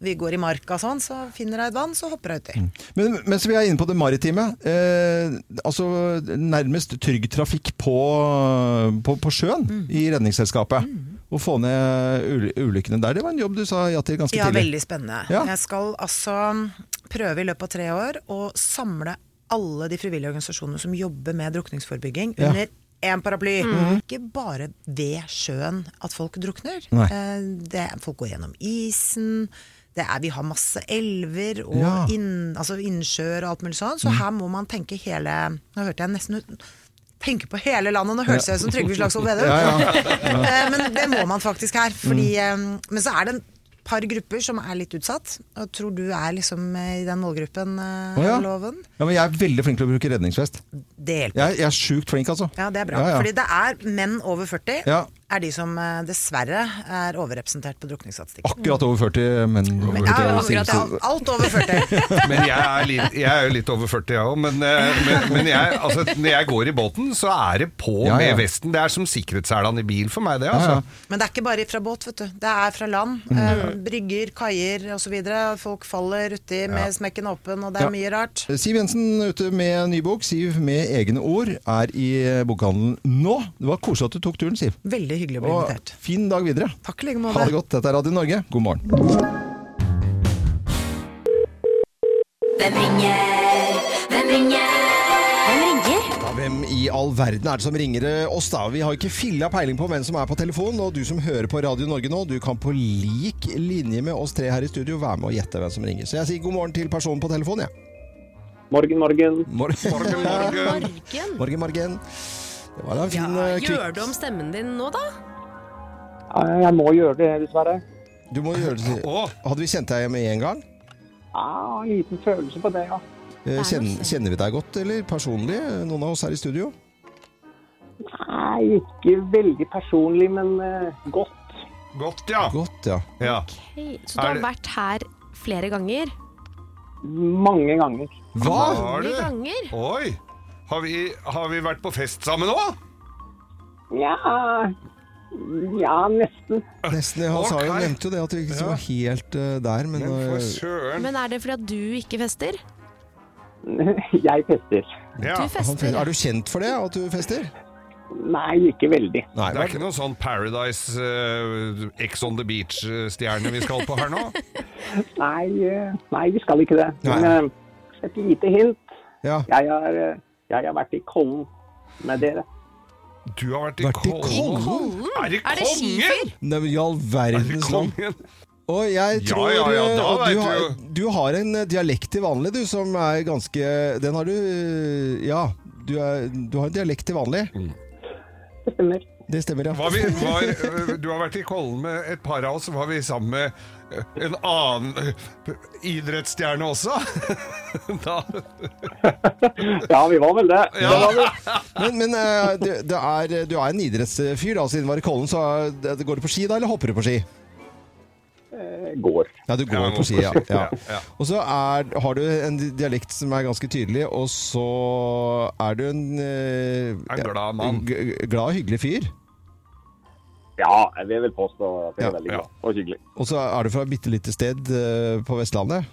Vi går i marka sånn, så finner hun et vann, så hopper hun uti.
Mm. Men mens vi er inne på det maritime, eh, altså nærmest trygg trafikk på, på, på sjøen
Mm.
i Redningsselskapet. Å få ned ul- ulykkene der, det var en jobb du sa ja til ganske
Ja,
tidlig.
veldig spennende.
Ja.
Jeg skal altså prøve i løpet av tre år å samle alle de frivillige organisasjonene som jobber med drukningsforebygging
Ja.
under én paraply. Mm. Ikke bare ved sjøen at folk drukner.
Nei.
Eh, Det, folk går gjennom isen. Det er, vi har masse elver og
Ja. Mm.
inn, altså innsjøer og alt mulig sånn, så her må man tenke hele Nå hørte jeg nesten ut Tenke på hele landet! Nå hørtes jeg ut som Trygve Slagsvold Vedum. Eh, Men det må man faktisk her. Fordi, eh, Men så er det en par grupper som er litt utsatt. Og tror du er liksom eh, i den målgruppen, eh,
Å, ja.
Loven?
Ja, men jeg er veldig flink til å bruke redningsvest.
Det hjelper.
Jeg, jeg er sjukt flink, altså.
Ja, det er bra.
Ja, ja.
Fordi det er menn over 40
Ja.
er de som eh, dessverre er overrepresentert på drukningsstatistikken.
Akkurat over 40, men over 40 er
Ja,
jo
akkurat,
sinnssykt.
ja. alt over 40.
Men jeg er, litt, jeg er jo litt over 40 jeg òg, men, eh, men, men jeg, altså, når jeg går i båten, så er det på
Ja, ja.
med vesten. Det er som sikkerhetsselene i bil for meg, det.
Ja,
altså.
ja.
Men det er ikke bare fra båt, vet du. Det er fra land.
Mm.
eh, Brygger, kaier osv. Folk faller uti med smekken åpen, og det er
Ja.
mye rart.
Siv Jensen ute med ny bok. Siv med egne ord er i bokhandelen nå. Det var koselig at du tok turen, Siv.
Veldig hyggelig å bli
Og
invitert.
fin dag videre.
Takk i like
Ha
måte.
det godt. Dette er Radio Norge. God morgen.
Hvem ringer? Hvem ringer? Hvem ringer?
Ja, hvem i all verden er det som ringer eh, oss, da? Vi har ikke filla peiling på hvem som er på telefonen. Og du som hører på Radio Norge nå, du kan på lik linje med oss tre her i studio være med og gjette hvem som ringer. Så jeg sier god morgen til personen på telefonen, jeg.
Morgen, morgen.
Morgen,
Morgen.
morgen. morgen. Det var da en fin
Ja,
eh, kvikk.
gjør du om stemmen din nå, da?
Ja, Jeg må gjøre det, dessverre.
Du må gjøre det.
Å,
Hadde vi kjent deg med en gang?
Ja, en liten følelse på det, ja.
Eh,
er
Kjenner,
noe fint.
kjenner vi deg godt, eller personlig? eh, Noen av oss her i studio?
Nei, ikke veldig personlig, men eh, godt.
godt, ja.
Godt, ja.
ja.
Ok, Så
Er
du har
det-
vært her flere ganger?
Mange ganger.
Hva?
Har du?
Mange ganger?
Oi! Har vi, har vi vært på fest sammen nå?
Ja, ja nesten.
Nesten, ja, Han sa jo,
Ok.
nevnte jo det at vi ikke var helt eh, der, men
For
eh,
søren.
Men er det fordi at du ikke fester?
Jeg fester.
Ja.
Du
han,
fester.
Er du kjent for det, at du fester?
Nei, ikke veldig.
Nei,
Det er ikke noen sånn Paradise eh, Ex on the Beach-stjerne vi skal på her nå?
Nei, eh, nei vi skal ikke det. Men
Nei.
eh, et lite hint.
ja.
Jeg har, eh, jeg har vært i Kollen med dere.
Du har vært i
Vært i
Kollen?
Kollen?
Er det
Er det skifer?
kongen?
Nei, men i all
Er det
verdens land.
kongen?
Og jeg
Ja,
tror
ja, ja,
eh,
da
og du,
vet
har,
vi
du har en eh, dialekt til vanlig, du, som er ganske Den har du eh, Ja. Du, er, du har en dialekt til vanlig.
det stemmer.
Det stemmer, ja.
Var vi, var, øh, du har vært i Kollen med et par av oss, var vi sammen med øh, en annen øh, idrettsstjerne også? da,
Ja, vi var vel det.
Men, men eh, det, det er, du er en idrettsfyr, da. Siden du var i Kollen, så er det- går du på ski da, eller hopper du på ski?
Eh, Går.
Ja, du går
Ja,
på ski, ja. ja.
Ja, ja.
Og så er, har du en dialekt som er ganske tydelig, og så er du en eh,
En glad mann.
g- g- Glad og hyggelig fyr.
Ja, jeg vil vel påstå at det
Ja.
er veldig
Ja.
bra og hyggelig.
Og så er du fra et bitte lite sted eh, på Vestlandet.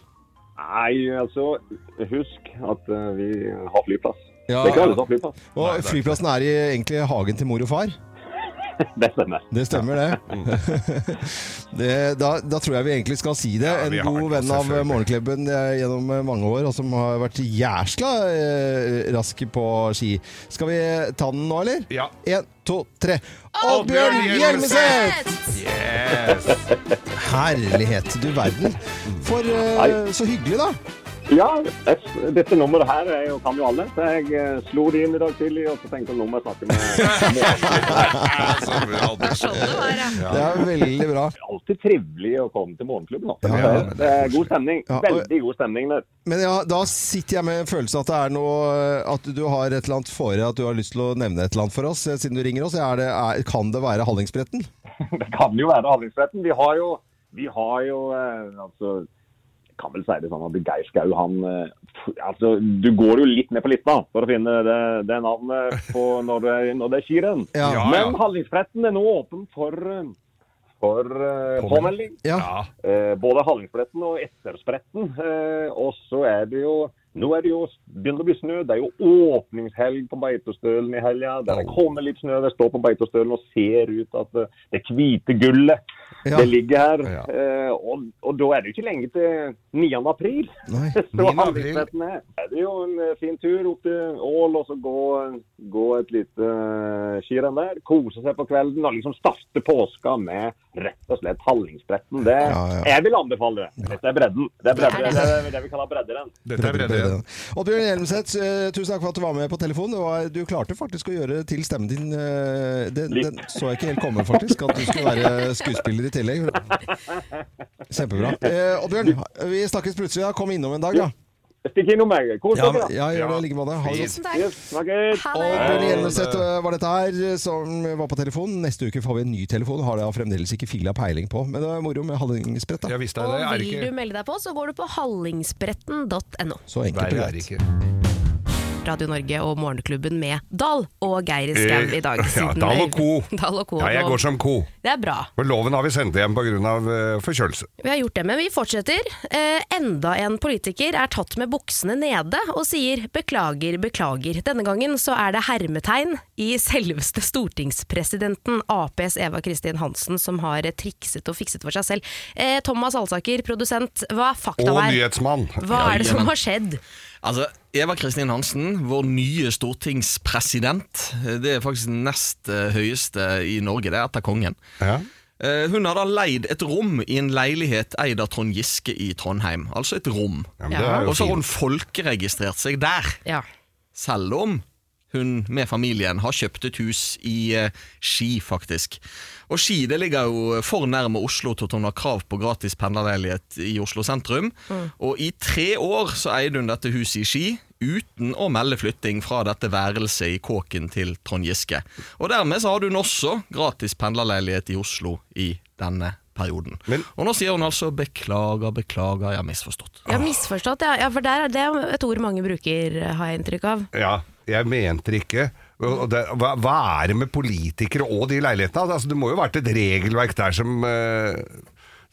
Nei, altså, husk at eh, vi har flyplass.
Ja.
Det er ikke alle som har flyplass.
Og flyplassen er i, egentlig hagen til mor og far.
Det stemmer.
Det stemmer, det. det da, da tror jeg vi egentlig skal si det.
Mm. Ja, vi
en
har
god
det,
venn av
selvfølgelig.
Morgenklubben eh, gjennom eh, mange år, og som har vært jæsla eh, rask på ski. Skal vi ta den nå, eller?
Ja.
En, to, tre. Oddbjørn Hjelmeset!
Yes!
Herlighet, du verden. For eh,
Nei.
så hyggelig, da.
Ja, jeg- dette nummeret her er jo, kan jo alle, så jeg eh, slo det inn i dag tidlig, og så tenkte jeg nå må jeg snakke med
Så bra,
Det var sånn det var, ja.
Det er veldig bra.
Det er alltid trivelig å komme til morgenklubben. altså.
Ja,
Det
ja,
er-
men det er
det er god stemning.
Ja, og-
Veldig god stemning der.
Men ja, da sitter jeg med en følelse at det er noe At du har et eller annet fore at du har lyst til å nevne et eller annet for oss, eh, siden du ringer oss. Er det, er, kan det være Hallingsbretten?
Det kan jo være Hallingsbretten. Vi har jo, vi har jo eh, altså, jeg kan vel si det sånn at Geir Skau, han eh, pff, altså, Du går jo litt ned på lista for å finne det, det navnet på når det, er- når det er skirenn.
Ja.
Ja, ja.
Men Hallingsbretten er nå åpen for, eh, for eh,
Påmelding.
påmelding.
Ja.
Ja.
Eh, både Hallingsbretten og Etterspretten. Eh, og så er det jo nå er det jo begynner å bli snø. Det er jo åpningshelg på Beitostølen i helga. Der det kommer litt snø. Jeg står på Beitostølen og ser ut at eh, det hvite gullet
Ja.
det ligger her.
Ja.
Eh, og, og da er det jo ikke lenge til 9. april.
Nei.
Så
9.
Hallingsbretten er, er det jo en eh, fin tur opp til Ål og så gå, gå et lite eh, skirenn der. Kose seg på kvelden og liksom starte påska med rett og slett Hallingsbretten. Det,
Ja, ja.
Jeg vil anbefale det. Dette er bredden. Det er bredden, det, er det vi kaller bredderenn.
Dette er bredere.
Oddbjørn Hjelmseth, eh, tusen takk for at du var med på telefon. Det var, du klarte faktisk å gjøre til stemmen din eh, den,
Litt.
den så jeg ikke helt komme, faktisk. At du skulle være skuespiller i tillegg. Kjempebra. Eh, Oddbjørn, vi snakkes plutselig. da. Kom innom en dag, da.
Stikk innom meg. Kos
Ja,
dere. da.
ja gjør det.
Ja.
I like måte. Ha det godt.
Tusen takk.
Yes, snakkes.
Ha
Og
det.
Bjørn Hjelmeset var eh, dette her, som var på telefonen. Neste uke får vi en ny telefon, har jeg fremdeles ikke filla peiling på. Men det er moro med hallingsbrett, da.
Jeg visste
Og
det. Er
vil du
ikke
melde deg på, så går du på hallingsbretten.no.
Så enkelt
Verre
og
er det
greit.
ikke.
Radio Norge og Morgenklubben med Dahl og Geir Skau i dag.
Eh, ja,
siden-
Dahl og Co.
Dahl og Co.
Ja, jeg går som ko.
Det er bra.
For loven har vi sendt hjem pga. eh, forkjølelse.
Vi har gjort det, men vi fortsetter. Eh, enda en politiker er tatt med buksene nede og sier beklager, beklager. Denne gangen så er det hermetegn i selveste stortingspresidenten, Aps Eva Kristin Hansen, som har trikset og fikset for seg selv. Eh, Thomas Alsaker, produsent, hva er fakta
Og
her?
nyhetsmann.
Hva er det som
Jajamän.
har skjedd?
Altså, Eva Kristin Hansen, vår nye stortingspresident, det er faktisk den nest eh, høyeste i Norge, det er etter kongen.
Ja.
Eh, Hun har da leid et rom i en leilighet eid av Trond Giske i Trondheim. Altså et rom.
Ja, men det er jo
Og så har hun
fint.
folkeregistrert seg der,
Ja.
selv om hun med familien har kjøpt et hus i eh, Ski, faktisk. Og Ski det ligger jo for nærme Oslo til at hun har krav på gratis pendlerleilighet i Oslo sentrum. Og i tre år så eide hun dette huset i Ski uten å melde flytting fra dette værelset i kåken til Trond Giske. Og dermed så hadde hun også gratis pendlerleilighet i Oslo i denne perioden.
Men-
og nå sier hun altså 'beklager, beklager, jeg har misforstått'.
Jeg har misforstått, ja. ja for der, er- det er et ord mange bruker, har jeg inntrykk av.
Ja, jeg mente det ikke. Og det, hva, hva er det med politikere og de leilighetene? Altså, det må jo ha vært et regelverk der som, eh,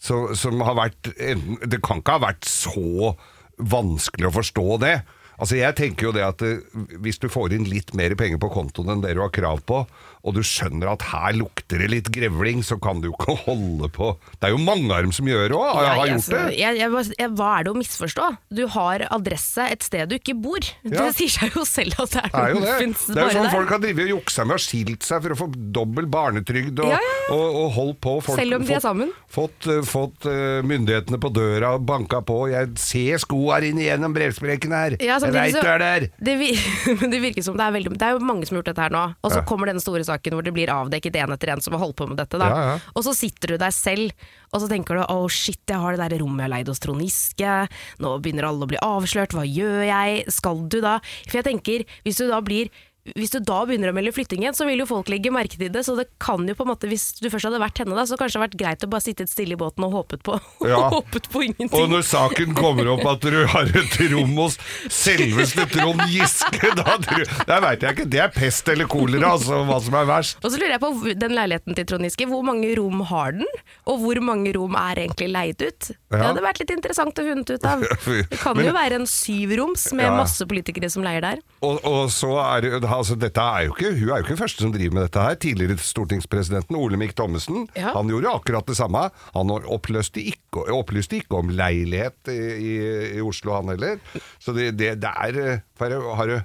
så, som har vært enten- Det kan ikke ha vært så vanskelig å forstå det. Altså Jeg tenker jo det at eh, hvis du får inn litt mer penger på kontoen enn det du har krav på, og du skjønner at her lukter det litt grevling, så kan du jo ikke holde på Det er jo mange av dem som gjør det òg, og jeg har
Nei,
gjort
altså,
det.
Jeg, jeg, bare- jeg, hva er det å misforstå? Du har adresse et sted du ikke bor.
Ja.
Det sier seg jo selv at det er
Det er jo
noe
det.
muffins
Det er jo
bare
sånn
der.
folk har drevet og juksa med og skilt seg for å få dobbel barnetrygd og,
Ja, ja, ja.
og, og holdt på. Folk,
Selv om de er
fått-
sammen.
Fått, eh, fått eh, myndighetene på døra og banka på. Jeg ser skoa dine gjennom brevsprekken her!
Ja,
jeg
samtidig
veit
så-
du er der!
Det, vir- men det virker som det er veldig Det er jo mange som har gjort dette her nå, og så kommer denne store Oslo-saken hvor det blir avdekket en etter en som har holdt på med dette. Da.
Ja, ja.
Og så sitter du der selv og så tenker du oh shit, jeg har det der rommet jeg leide hos Trond Giske, nå begynner alle å bli avslørt, hva gjør jeg, skal du da? For jeg tenker, hvis du da blir hvis du da begynner å melde flytting igjen, så vil jo folk legge merke til det. Så det kan jo på en måte, hvis du først hadde vært henne da, så kanskje det hadde vært greit å bare sitte stille i båten og håpet på,
Ja.
håpet på ingenting.
Og når saken kommer opp at du har et rom hos selveste Trond Giske, da tror Der veit jeg ikke. Det er pest eller kolera, altså, hva som er verst.
Og så lurer jeg på hvor- den leiligheten til Trond Giske, hvor mange rom har den? Og hvor mange rom er egentlig leid ut? Det
Ja.
hadde vært litt interessant å funnet ut av. Det kan
Men-
jo være en syvroms med
Ja.
masse politikere som leier der.
Og, og så er det- altså, dette er jo ikke, Hun er jo ikke den første som driver med dette her. Tidligere stortingspresidenten Olemic Thommessen
Ja.
han gjorde akkurat det samme. Han oppløste ikke, opplyste ikke om leilighet i, i, i Oslo, han heller. Så det, det, det er eh, bare- Har du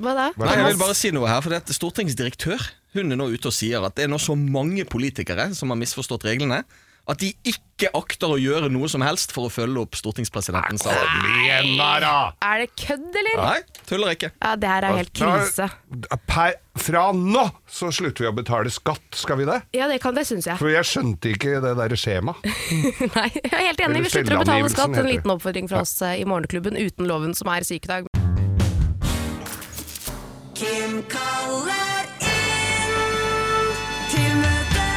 Hva da?
Hva
Nei, jeg
Thomas?
vil bare si noe her, for dette Stortingsdirektør hun er nå ute og sier at det er nå så mange politikere som har misforstått reglene, at de ikke akter å gjøre noe som helst for å følge opp stortingspresidentens sak.
Kom igjen, da, da!
Er det kødd, eller?
Nei, tuller ikke.
Ja, det her er helt krise.
Da- Per, fra nå så slutter vi å betale skatt, skal vi det?
Ja, det kan det, syns jeg.
For jeg skjønte ikke det derre skjemaet.
Nei, jeg er helt enig. Vi
Eller
slutter å betale
selvangivelsen,
skatt. En
heter det.
liten oppfordring fra oss eh, i Morgenklubben uten loven som er sykedag.
Kim kaller inn til møte.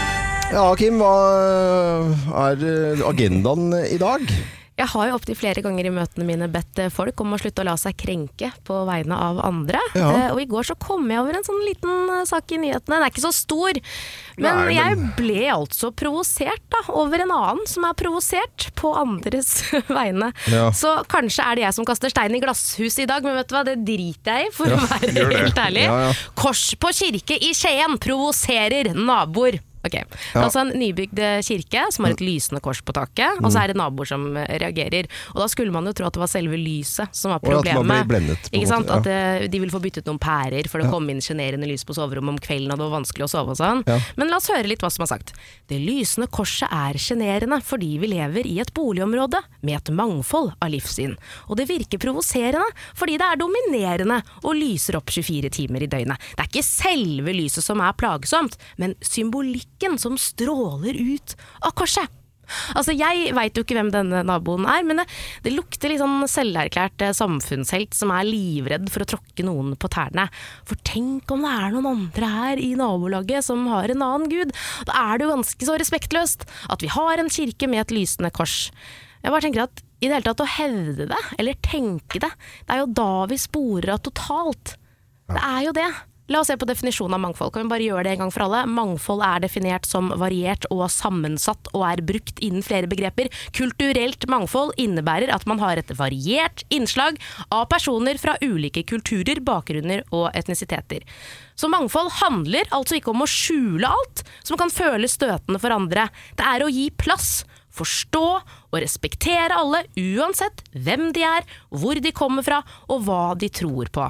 Ja, Kim, hva eh, er agendaen i dag?
Jeg har jo opptil flere ganger i møtene mine bedt eh, folk om å slutte å la seg krenke på vegne av andre.
Ja.
Eh, og i går så kom jeg over en sånn liten eh, sak i nyhetene. Den er ikke så stor. Men,
Nei,
jeg
men-
ble altså provosert da, over en annen som er provosert på andres vegne.
Ja.
Så kanskje er det jeg som kaster stein i glasshuset i dag, men vet du hva, det driter jeg i, for å
gjør
være
det.
helt ærlig.
Ja, ja.
Kors på kirke i Skien provoserer naboer. Ok, altså En nybygd kirke som har et
Mm.
lysende kors på taket, og så er det naboer som eh, reagerer. Og Da skulle man jo tro at det var selve lyset som var
Og at man
problemet.
blir blendet, på en
Ikke sant?
måte, ja.
At eh, de vil få byttet noen pærer, for det kom inn sjenerende lys på soverommet om kvelden, og det var vanskelig å sove og sånn.
Ja.
Men la oss høre litt hva som er sagt. Det lysende korset er sjenerende fordi vi lever i et boligområde med et mangfold av livssyn. Og det virker provoserende fordi det er dominerende og lyser opp 24 timer i døgnet. Det er ikke selve lyset som er plagsomt, men symbolikken som stråler ut av korset. Altså, Jeg veit jo ikke hvem denne naboen er, men det, det lukter litt sånn selverklært eh, samfunnshelt som er livredd for å tråkke noen på tærne. For tenk om det er noen andre her i nabolaget som har en annen gud. Da er det jo ganske så respektløst at vi har en kirke med et lysende kors. Jeg bare tenker at i det hele tatt å hevde det, eller tenke det, det er jo da vi sporer av totalt. Det er jo det. La oss se på definisjonen av mangfold. Kan vi bare gjøre det en gang for alle? Mangfold er definert som variert og sammensatt, og er brukt innen flere begreper. Kulturelt mangfold innebærer at man har et variert innslag av personer fra ulike kulturer, bakgrunner og etnisiteter. Så mangfold handler altså ikke om å skjule alt som kan føles støtende for andre. Det er å gi plass, forstå og respektere alle, uansett hvem de er, hvor de kommer fra og hva de tror på.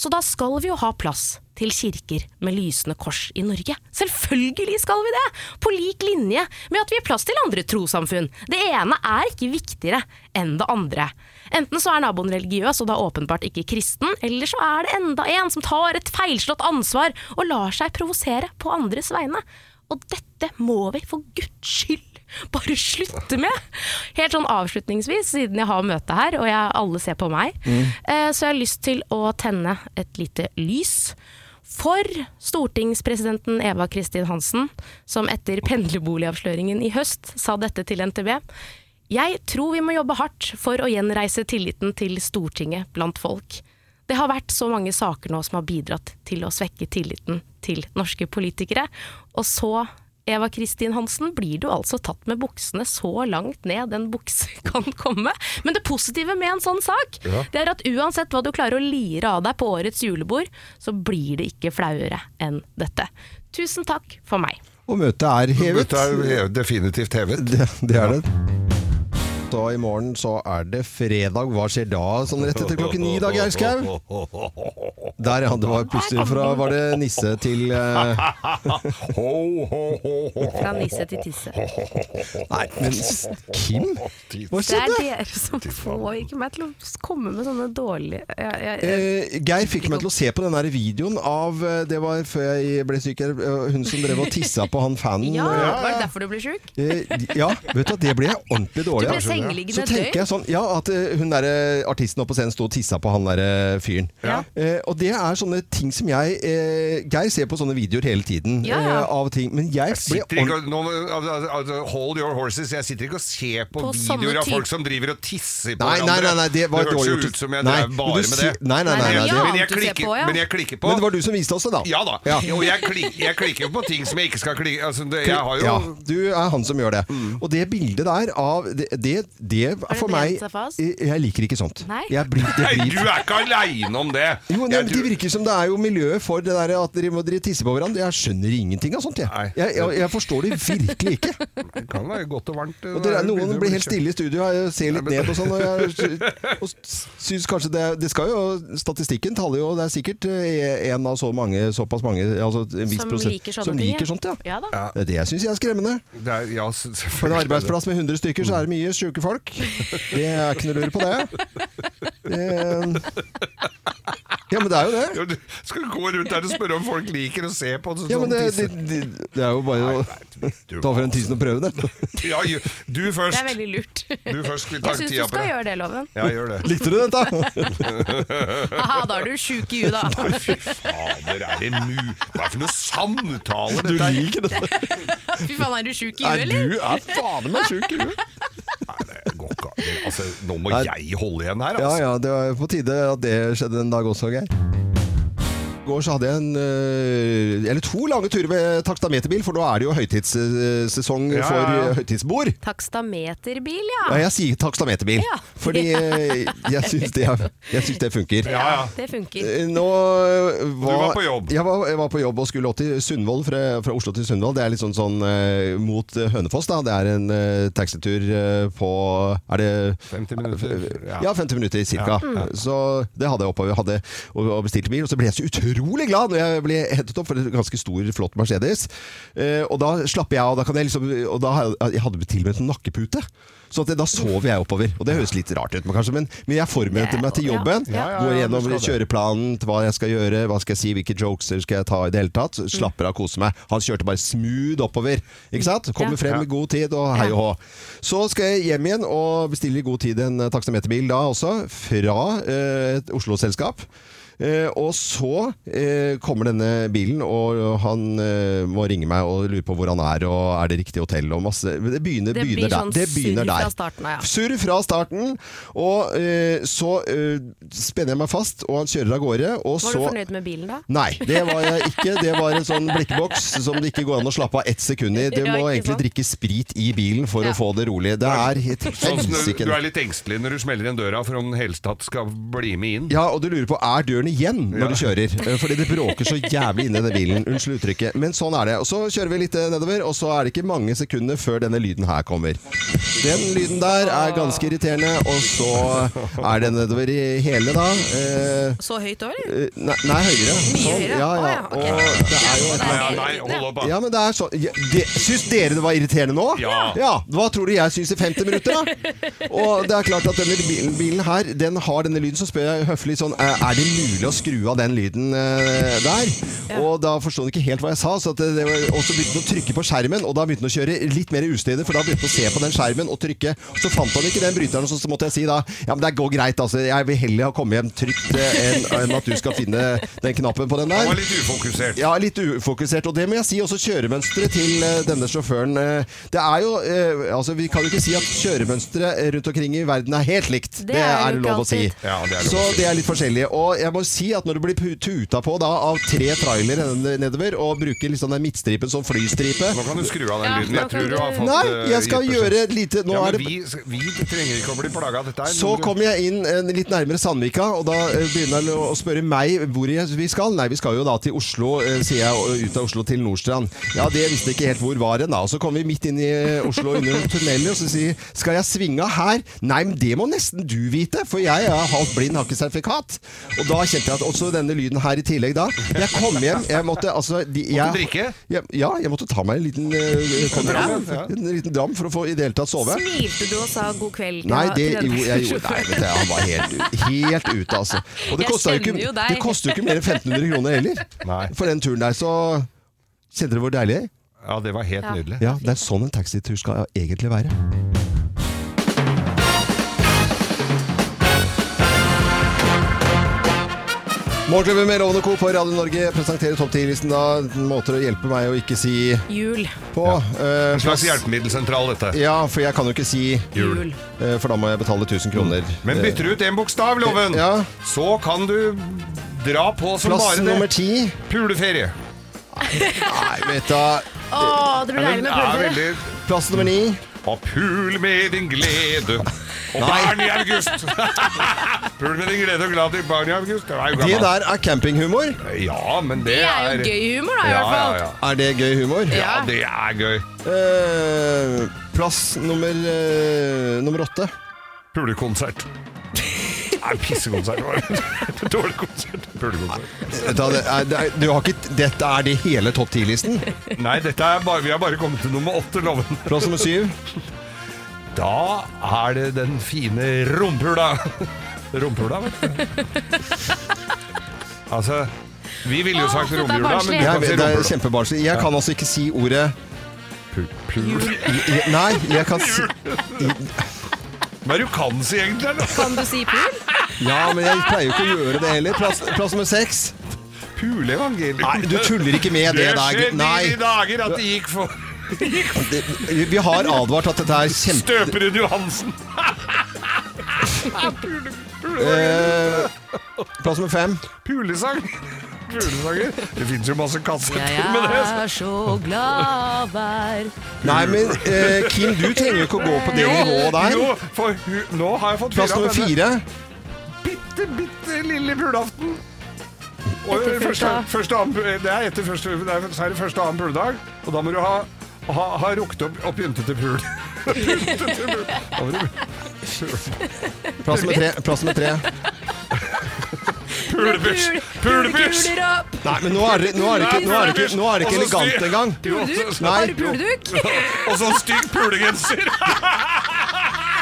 Så da skal vi jo ha plass til kirker med lysende kors i Norge. Selvfølgelig skal vi det! På lik linje med at vi har plass til andre trossamfunn. Det ene er ikke viktigere enn det andre. Enten så er naboen religiøs og da åpenbart ikke kristen, eller så er det enda en som tar et feilslått ansvar og lar seg provosere på andres vegne. Og dette må vi for guds skyld bare slutte med. Helt sånn avslutningsvis, siden jeg har møte her, og jeg, alle ser på meg, eh, så jeg har lyst til å tenne et lite lys. For stortingspresidenten Eva Kristin Hansen, som etter pendlerboligavsløringen i høst sa dette til NTB. Jeg tror vi må jobbe hardt for å gjenreise tilliten til Stortinget blant folk. Det har vært så mange saker nå som har bidratt til å svekke tilliten til norske politikere. Og så, Eva Kristin Hansen, blir du altså tatt med buksene så langt ned en bukse kan komme. Men det positive med en sånn sak, det er at uansett hva du klarer å lire av deg på årets julebord, så blir det ikke flauere enn dette. Tusen takk for meg.
Og møtet er hevet.
Dette er jo definitivt hevet.
Det, det er det. godt, og i morgen så er det fredag. Hva skjer da, sånn rett etter klokken ni da, Geir Skau? Der, ja. Det var plutselig fra var det nisse til eh,
Ho, ho, ho, ho.
Fra nisse til tisse.
Nei, men s- Kim? Hva
Det er
skjedde?
dere som får ikke meg til å komme med sånne dårlige jeg, jeg, jeg,
Eh, Geir fikk meg til å se på den der videoen av eh, Det var før jeg ble syk. eh, Hun som drev og tissa på han fanen.
Ja,
eh,
var det derfor du ble sjuk?
Eh, ja, vet du, hva, det ble jeg ordentlig dårlig
Du ble
av.
sengeliggende
Så tenker jeg sånn, ja, at eh, hun der, eh, artisten oppe på scenen sto og tissa på han der eh, fyren.
Ja.
Eh, og det er sånne ting som jeg eh, Geir ser på sånne videoer hele tiden.
Ja, ja.
eh, av ting, men jeg ble
Sitter ikke,
ordentlig
og- nå, altså, altså, hold your horses. Jeg sitter ikke og ser på,
På sånne
videoer av
ting.
folk som driver og tisser på
Nei, nei,
hverandre.
nei, nei, det var
hørtes
dårlig
jo
gjort.
ut som jeg
Nei,
drev bare
men du
med
sier-
det.
nei, nei, nei,
Nei,
nei,
ja.
det,
men, jeg
du ser
klikker,
på, ja.
men jeg klikker på.
men det var du som viste oss det, da.
Ja da. Og jeg, klik, jeg klikker jo på ting som jeg ikke skal klikke altså, det, Jeg har jo Mm.
Ja, du er han som gjør det. Og det bildet der av Det, det, det er for
brent
meg
seg fast?
Jeg jeg liker ikke sånt.
Nei.
Jeg blir, det
Nei,
blir
du er ikke aleine om det!
Jo,
Jeg
det,
tror-
det virker som det er jo miljøet for det der at dere må dere tisse på hverandre. Jeg skjønner ingenting av sånt. Jeg,
Nei.
jeg, jeg, jeg forstår det virkelig ikke.
Det kan være godt og varmt. eh,
Og dere, noen
begynner
blir
å bli
helt
kjørt.
stille i studio og ser litt ned på sånn. Og jeg og synes kanskje det, det skal jo Statistikken taler jo Det er sikkert eh, en av så mange, såpass mange altså en viss
Som
prosent-
liker sånne
som
ting,
liker
ja.
sånt. Ja.
Ja da.
Det er Det jeg syns jeg er skremmende.
Det er, ja, s-
På en
selvfølgelig.
arbeidsplass med 100 stykker så er det mye sjuke folk. Det er ikke noe lure på det. det. eh, Ja, men det er jo det.
Ja, du Skal gå rundt der og spørre om folk liker å se på sånn
Ja, men det,
tisse.
det, det, det er jo bare å
du-
ta for en tissen og prøve det.
Ja, ju- du først.
Det er veldig lurt.
Du først. Vi tar
Jeg syns du
tida på
skal
det.
gjøre det, Loven.
Ja, gjør det.
Likte du dette?
Aha, da er du sjuk i huet, da.
Nei, fy fader, er det mu... Hva er det for noen samtaler
Du
dette er? altså?
liker dette?
Fy faen, er du sjuk i
Nei,
huet, eller?
du er fader meg sjuk i huet.
Nei, det går ikke an. Altså, nå må
Nei.
jeg holde igjen her,
Ja
altså.
ja, det var på tide at det skjedde en dag også, Geir. I går så hadde jeg en, øh, eller to lange turer med takstameterbil, for nå er det jo høytidssesong
Ja,
for
ja, ja.
øh, høytidsbord.
Takstameterbil,
Ja,
ja.
jeg sier takstameterbil,
Ja.
fordi øh, jeg syns det, er- jeg syns det funker.
Ja, ja.
Det funker.
Eh, Nå eh, var,
var på jobb.
Jeg var, jeg var på jobb og skulle opp til Sundvold, fra, fra Oslo til Sundvold. Det er litt sånn, sånn eh, mot eh, Hønefoss, da. Det er en eh, taxitur eh, på Er det Eh,
50 minutter.
ja.
Ja.
50 minutter ca. Så det hadde jeg oppover. Hadde og og bestilte bil. Og så ble jeg så utrolig glad når jeg ble hentet opp for en ganske stor, flott Mercedes. Eh, og da slapper jeg av. Da kan jeg liksom, og da hadde jeg hadde til og med en nakkepute. Så at det, da sover jeg oppover. Og det høres litt rart ut, men kanskje, men, men jeg forberedte meg til
Ja.
jobben.
Ja, ja,
Går
ja,
gjennom
du skal
kjøreplanen, til hva jeg skal gjøre, hva skal jeg si, hvilke jokes skal jeg ta i det hele tatt.
Mm.
Slapper av, koser meg. Han kjørte bare smooth oppover. Ikke sant? Kommer
Ja.
frem i god tid og hei og hå. Så skal jeg hjem igjen og bestille i god tid en eh, taksameterbil da også, fra eh, et Oslo-selskap. Eh, og så eh, kommer denne bilen, og han eh, må ringe meg og lure på hvor han er, og er det riktig hotell og masse Men Det begynner,
Det blir
begynner der.
sånn
Det begynner
surr fra
der.
starten av, ja.
Surr fra starten, og eh, så eh, spenner jeg meg fast, og han kjører av gårde, og
Var
så
du fornøyd med bilen, da?
Nei, det var jeg ikke. Det var en sånn blikkboks som det ikke går an å slappe av ett sekund i. Du
Ja,
må
ikke
egentlig
sant?
drikke sprit i bilen for
Ja.
å få det rolig. Det er helt
Sånn som du,
helsike.
du er litt engstelig når du smeller igjen døra for om den hele tatt skal bli med inn.
Ja, og du lurer på er døren igjen når
Ja.
du kjører. Eh, Fordi det bråker så jævlig inni den bilen. Unnskyld uttrykket. Men sånn er det. Og så kjører vi litt eh, nedover, og så er det ikke mange sekundene før denne lyden her kommer. Den lyden der er ganske irriterende, og så er den nedover i hele, da. Eh,
Så høyt òg, eller?
eh, nei, nei, høyere. Sånn,
høyere?
ja, ja.
Å, ja, ok.
Og det er jo et
Nei, ja, nei, hold opp, da.
Ja, men det er sånn ja, det, Syns dere det var irriterende nå?
Ja.
Hva tror du jeg syns i 50 minutter, da? Og det er klart at denne bilen, bilen her, den har denne lyden, så spør jeg høflig sånn Er er det mulig å skru av den lyden eh, der? Og da forsto han ikke helt hva jeg sa, så at det, det var, og så begynte han å trykke på skjermen, og da begynte han å kjøre litt mer ustødig, for da begynte han å se på den skjermen og trykke. Så fant han ikke den bryteren, og så, så måtte jeg si da Ja, men det går greit, altså. Jeg vil heller ha kommet hjem trygt eh, enn enn at du skal finne den knappen på den der.
Han var litt ufokusert.
Ja, litt ufokusert. Og det må jeg si også kjøremønsteret til eh, denne sjåføren. eh, det er jo eh, Altså, vi kan jo ikke si at kjøremønsteret rundt omkring i verden er helt likt.
Det er jo ikke
lov å si.
alltid.
Ja, det er lov
Så
å si.
det er litt forskjellig. Og jeg må si at når du blir pu- tuta på da, av tre trailere nedover, og bruker liksom den midtstripen som flystripe
Nå kan du skru av den
Ja,
lyden.
nå
Jeg
kan
tror du har
du-
fått
Nei,
eh,
jeg skal
gitt beskjed.
gjøre et lite Nå
ja,
er
men
det
vi, vi trenger ikke å bli plaga av dette. her.
Så
Men du-
kom jeg inn eh, litt nærmere Sandvika, og da eh, begynner han å spørre meg hvor jeg, vi skal. Nei, vi skal jo da til Oslo, eh, sier jeg, og ut av Oslo til Nordstrand. Ja, det visste jeg ikke helt hvor var hen, da. Og så kom vi midt inn i eh, Oslo under tunnelen, og så sier jeg, skal jeg svinge av her? Nei, men det må nesten du vite, for jeg er halvt blind, har ikke sertifikat. Og da kjente jeg at også denne lyden her i tillegg da. Jeg kom hjem, jeg måtte altså de, jeg,
du drikke?
Ja, ja, jeg måtte ta meg en liten, eh,
dram, ja.
en liten dram for å få i det hele tatt sove.
Smilte du og sa god kveld? til-
Nei, det
til den
jo, jeg gjorde Nei,
personen?
vet du, han var helt, u- helt ute, altså. Og det
Jeg
kosta jo ikke,
kjenner jo deg.
det koster jo ikke mer enn 1500 kroner heller.
Nei.
For den turen der, så Kjente dere hvor deilig det er?
Ja, det var helt
Ja.
nydelig.
Ja, det er sånn en taxitur skal egentlig være. Morgenklubben med Lovende Co. på Radio Norge presenterer topp 10-listen av måter å hjelpe meg å ikke si
Jul.
på. Eh,
En slags hjelpemiddelsentral, dette.
ja, for jeg kan jo ikke si
Jul.
eh, for da må jeg betale 1000 kroner.
Men bytter du ut en bokstav, Mm. Loven,
Ja.
så kan du dra på som
Plass
bare det.
nummer ti.
Puleferie.
Nei, vet du
Å, det blir deilig med
Ja, men er
pølser.
veldig...
Plass nummer ni.
Og pul med din glede og barn i august. pul med din glede og glad i barn i august. Det var jo
Det
gammelt.
der er campinghumor.
Ja, men det,
Det er
er
jo gøy humor, da, i
Ja,
hvert
ja,
fall.
ja.
Er det gøy humor?
ja, det er gøy.
Eh, plass nummer, eh, nummer åtte.
Pulekonsert. Nei, pissekonsert var det. Dårlig konsert. Pulekonsert.
Vet du hva, det er- det er- du har ikke, dette er det hele topp ti-listen.
Nei, dette er bare, vi har bare kommet til nummer åtte, loven.
Plass nummer syv.
Da er det den fine rumpula. Rumpula, vet du. Altså, vi ville jo
Åh,
sagt
dette er
romjula, men
barnslig.
du
Jeg,
kan si
det er
rumpula.
kjempebarnslig. Jeg kan altså ikke si ordet
Pul- Pul.
jeg- Nei, jeg kan si
Hva er det du kan si egentlig? eller?
Kan du si pul?
Ja, men jeg pleier jo ikke å gjøre det heller. Plass, plass nummer seks.
Puleevangelium.
Nei, du tuller ikke med det
Det
der.
skjedde i
Nei.
de dager at det gikk for
Det, vi har advart at dette er kjempe...
Støperud Johansen.
Eh, plass nummer fem.
Pulesang. Pulesanger. Det fins jo masse kassetter med
Jeg
det.
er så glad hver
Nei, men eh, Kim, du trenger jo ikke å gå på det nivået der.
Jo, for hu- nå har jeg fått
Plass nummer
denne
fire.
Bitte, bitte lille julaften. Og
Etter
første,
første-
første annen, pu- det er etter første, det er, så er det første og annen puledag, og da må du ha, ha, ha rukket opp og pyntet til pul. Pyntet til pul. Da må du-
Plass nummer tre. Plass nummer tre.
Pulebysj! Pulebysj!
Pulekuler opp!
Nei, men nå er det, nå er det ikke, nå er det ikke, nå er det ikke
Og så styr-
elegant engang.
Jo, så-
Nei.
Har du puleduk?
Og så en stygg pulegenser!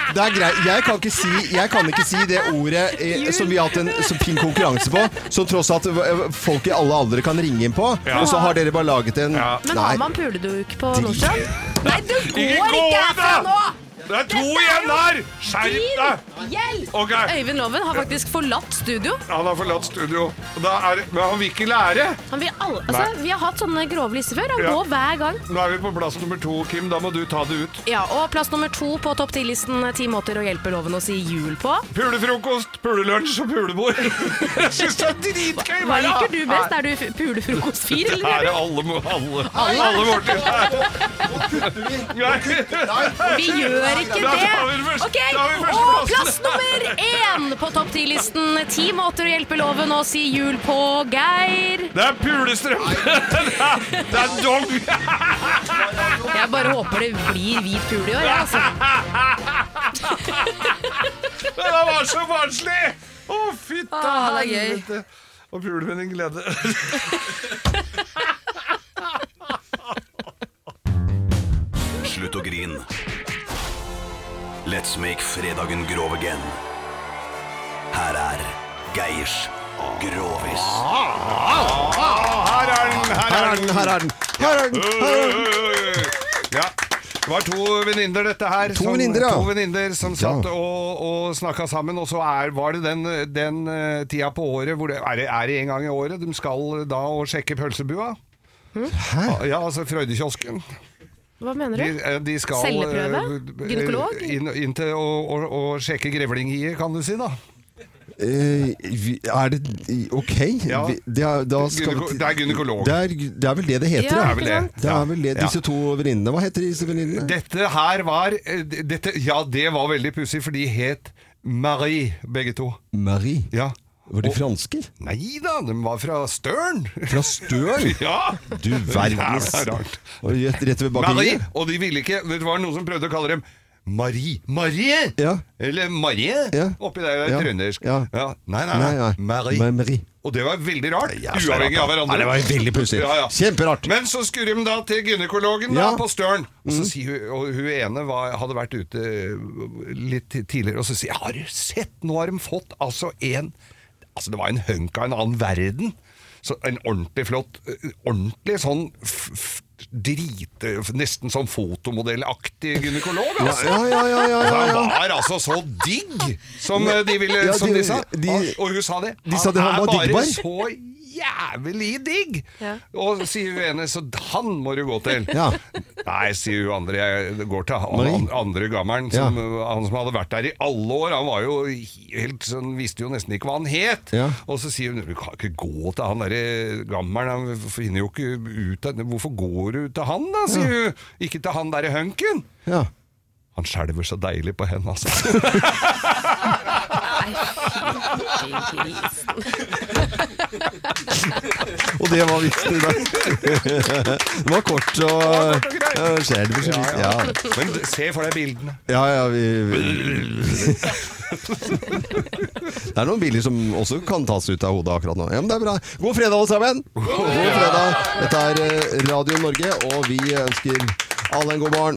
Det er greit. Jeg kan ikke si, jeg kan ikke si det ordet eh, som vi har hatt en så fin konkurranse på, som tross alt eh, folk i alle aldre kan ringe inn på,
Ja.
og så har dere bare laget en
Ja.
Men
Nei.
har man puleduk på Nordstrand? Nei, du går
Ikke gå
ikke
ut,
herfra
da!
nå!
Det er to igjen her! Skjerp deg!
Din hjelp!
Ok.
Øyvind Loven har faktisk forlatt studio.
Han har forlatt studio. Og Da er, det- men han vil ikke lære.
Han vil alle, altså,
Nei.
vi har hatt sånne grove lister før. Han
Ja.
går hver gang.
Nå er vi på plass nummer to, Kim. Da må du ta det ut.
Ja, og Plass nummer to på topp ti-listen eh, ti måter å hjelpe loven å si jul på.
Pulefrokost, pulelunsj og pulebord. Jeg syns det er dritgøy!
Hva
hver dag.
liker du best? Er du f- pulefrokost fire,
Her er
eller?
det alle, må- alle, alle måltider. Nei.
Vi gjør ikke
Da tar vi den
det!
første-
Ok,
da har vi
Og
førsteplassen.
plass nummer én på topp ti-listen ti måter å hjelpe loven å si jul på. Geir.
Det er pulestrøm! Det er, det er dong!
Jeg bare håper det blir hvit pule i år. jeg, Altså.
Det var så barnslig! Å, fytta
Ah, det er gøy.
helvete. Og pule med din glede.
Slutt å grin. Let's make fredagen grov again. Her er Geirs Grovis.
Ah, her er den!
Her er den, her er den. Her er den. Her er den.
Ja. Det var to venninner, dette her.
To
som-
venninner, ja.
To venninner som satt og, og snakka sammen. Og så er, var det den, den eh, tida på året hvor det er, det- er det en gang i året de skal da og sjekke pølsebua.
Hm?
Ja, altså Frøydekiosken.
Hva mener du?
De, eh, de skal
Celleprøve?
eh,
Gynekolog?
Inn, inn til å, å, å sjekke grevlinghiet, kan du si, da.
Eh, vi- er det Ok.
Ja.
Vi, det, er, da skal
Gyneko-
vi-
det er gynekolog.
Det er, det er vel det det heter,
Ja,
er vel det.
Det er vel det.
Ja.
Disse to venninnene, hva heter disse venninnene?
Dette her var eh, d- dette, Ja, det var veldig pussig, for de het Marie, begge to.
Marie.
Ja.
Var de
Og-
fransker?
Nei da, de var fra Støren!
Fra Støl?
Ja!
Du verdens
Det er rart.
Og Rett, rett ved
Marie!
bakeriet?
Og de ville ikke Det var noen som prøvde å kalle dem Marie. Marie!
Ja.
Eller Marie!
Ja.
Oppi der det
Ja.
er trøndersk.
Ja.
Nei, nei, nei.
Nei, nei.
Marie.
Men Marie.
Og det var veldig rart.
så rart,
uavhengig
da.
av hverandre.
Nei, det var veldig pussig.
Ja, ja.
Kjemperart.
Men så skurrer de da til gynekologen da,
Ja. Mm.
på Støren. Og så sier hun, og hun ene var, hadde vært ute eh, litt tidligere, og så sier hun, Har du sett, nå har de fått altså en Altså, det var en hunk av en annen verden. Så en ordentlig flott Ordentlig sånn f f drit Nesten sånn fotomodellaktig gynekolog, altså.
Ja, ja, ja, ja, ja, ja.
Han var altså så digg, som eh, de, ville,
Ja,
som
de-
de sa.
de-
og hun sa det.
de sa det, han
er
var
bare
diggbar.
så jævlig digg!
Ja.
Og sier hun ene, så han må du gå til.
Ja.
Nei, sier hun andre, jeg går til han,
Nei.
han andre gammelen,
Ja.
som, han som hadde vært der i alle år. Han var jo helt sånn, visste jo nesten ikke hva han het.
Ja.
Og så sier hun, du kan ikke gå til han derre gammelen, han finner jo ikke ut av Hvorfor går du til han da, sier hun. Ikke til han derre hunken.
Ja.
Han skjelver så deilig på henne, altså.
Og det var vitsen i dag. Det var kort og ja, skjelver så vidt. Ja,
Men se for deg bildene.
ja, ja vi, vi. Det er noen biler som også kan tas ut av hodet akkurat nå. Ja, men det er bra. God fredag, alle sammen! God fredag. Dette er eh, Radio Norge, og vi ønsker alle en god morgen.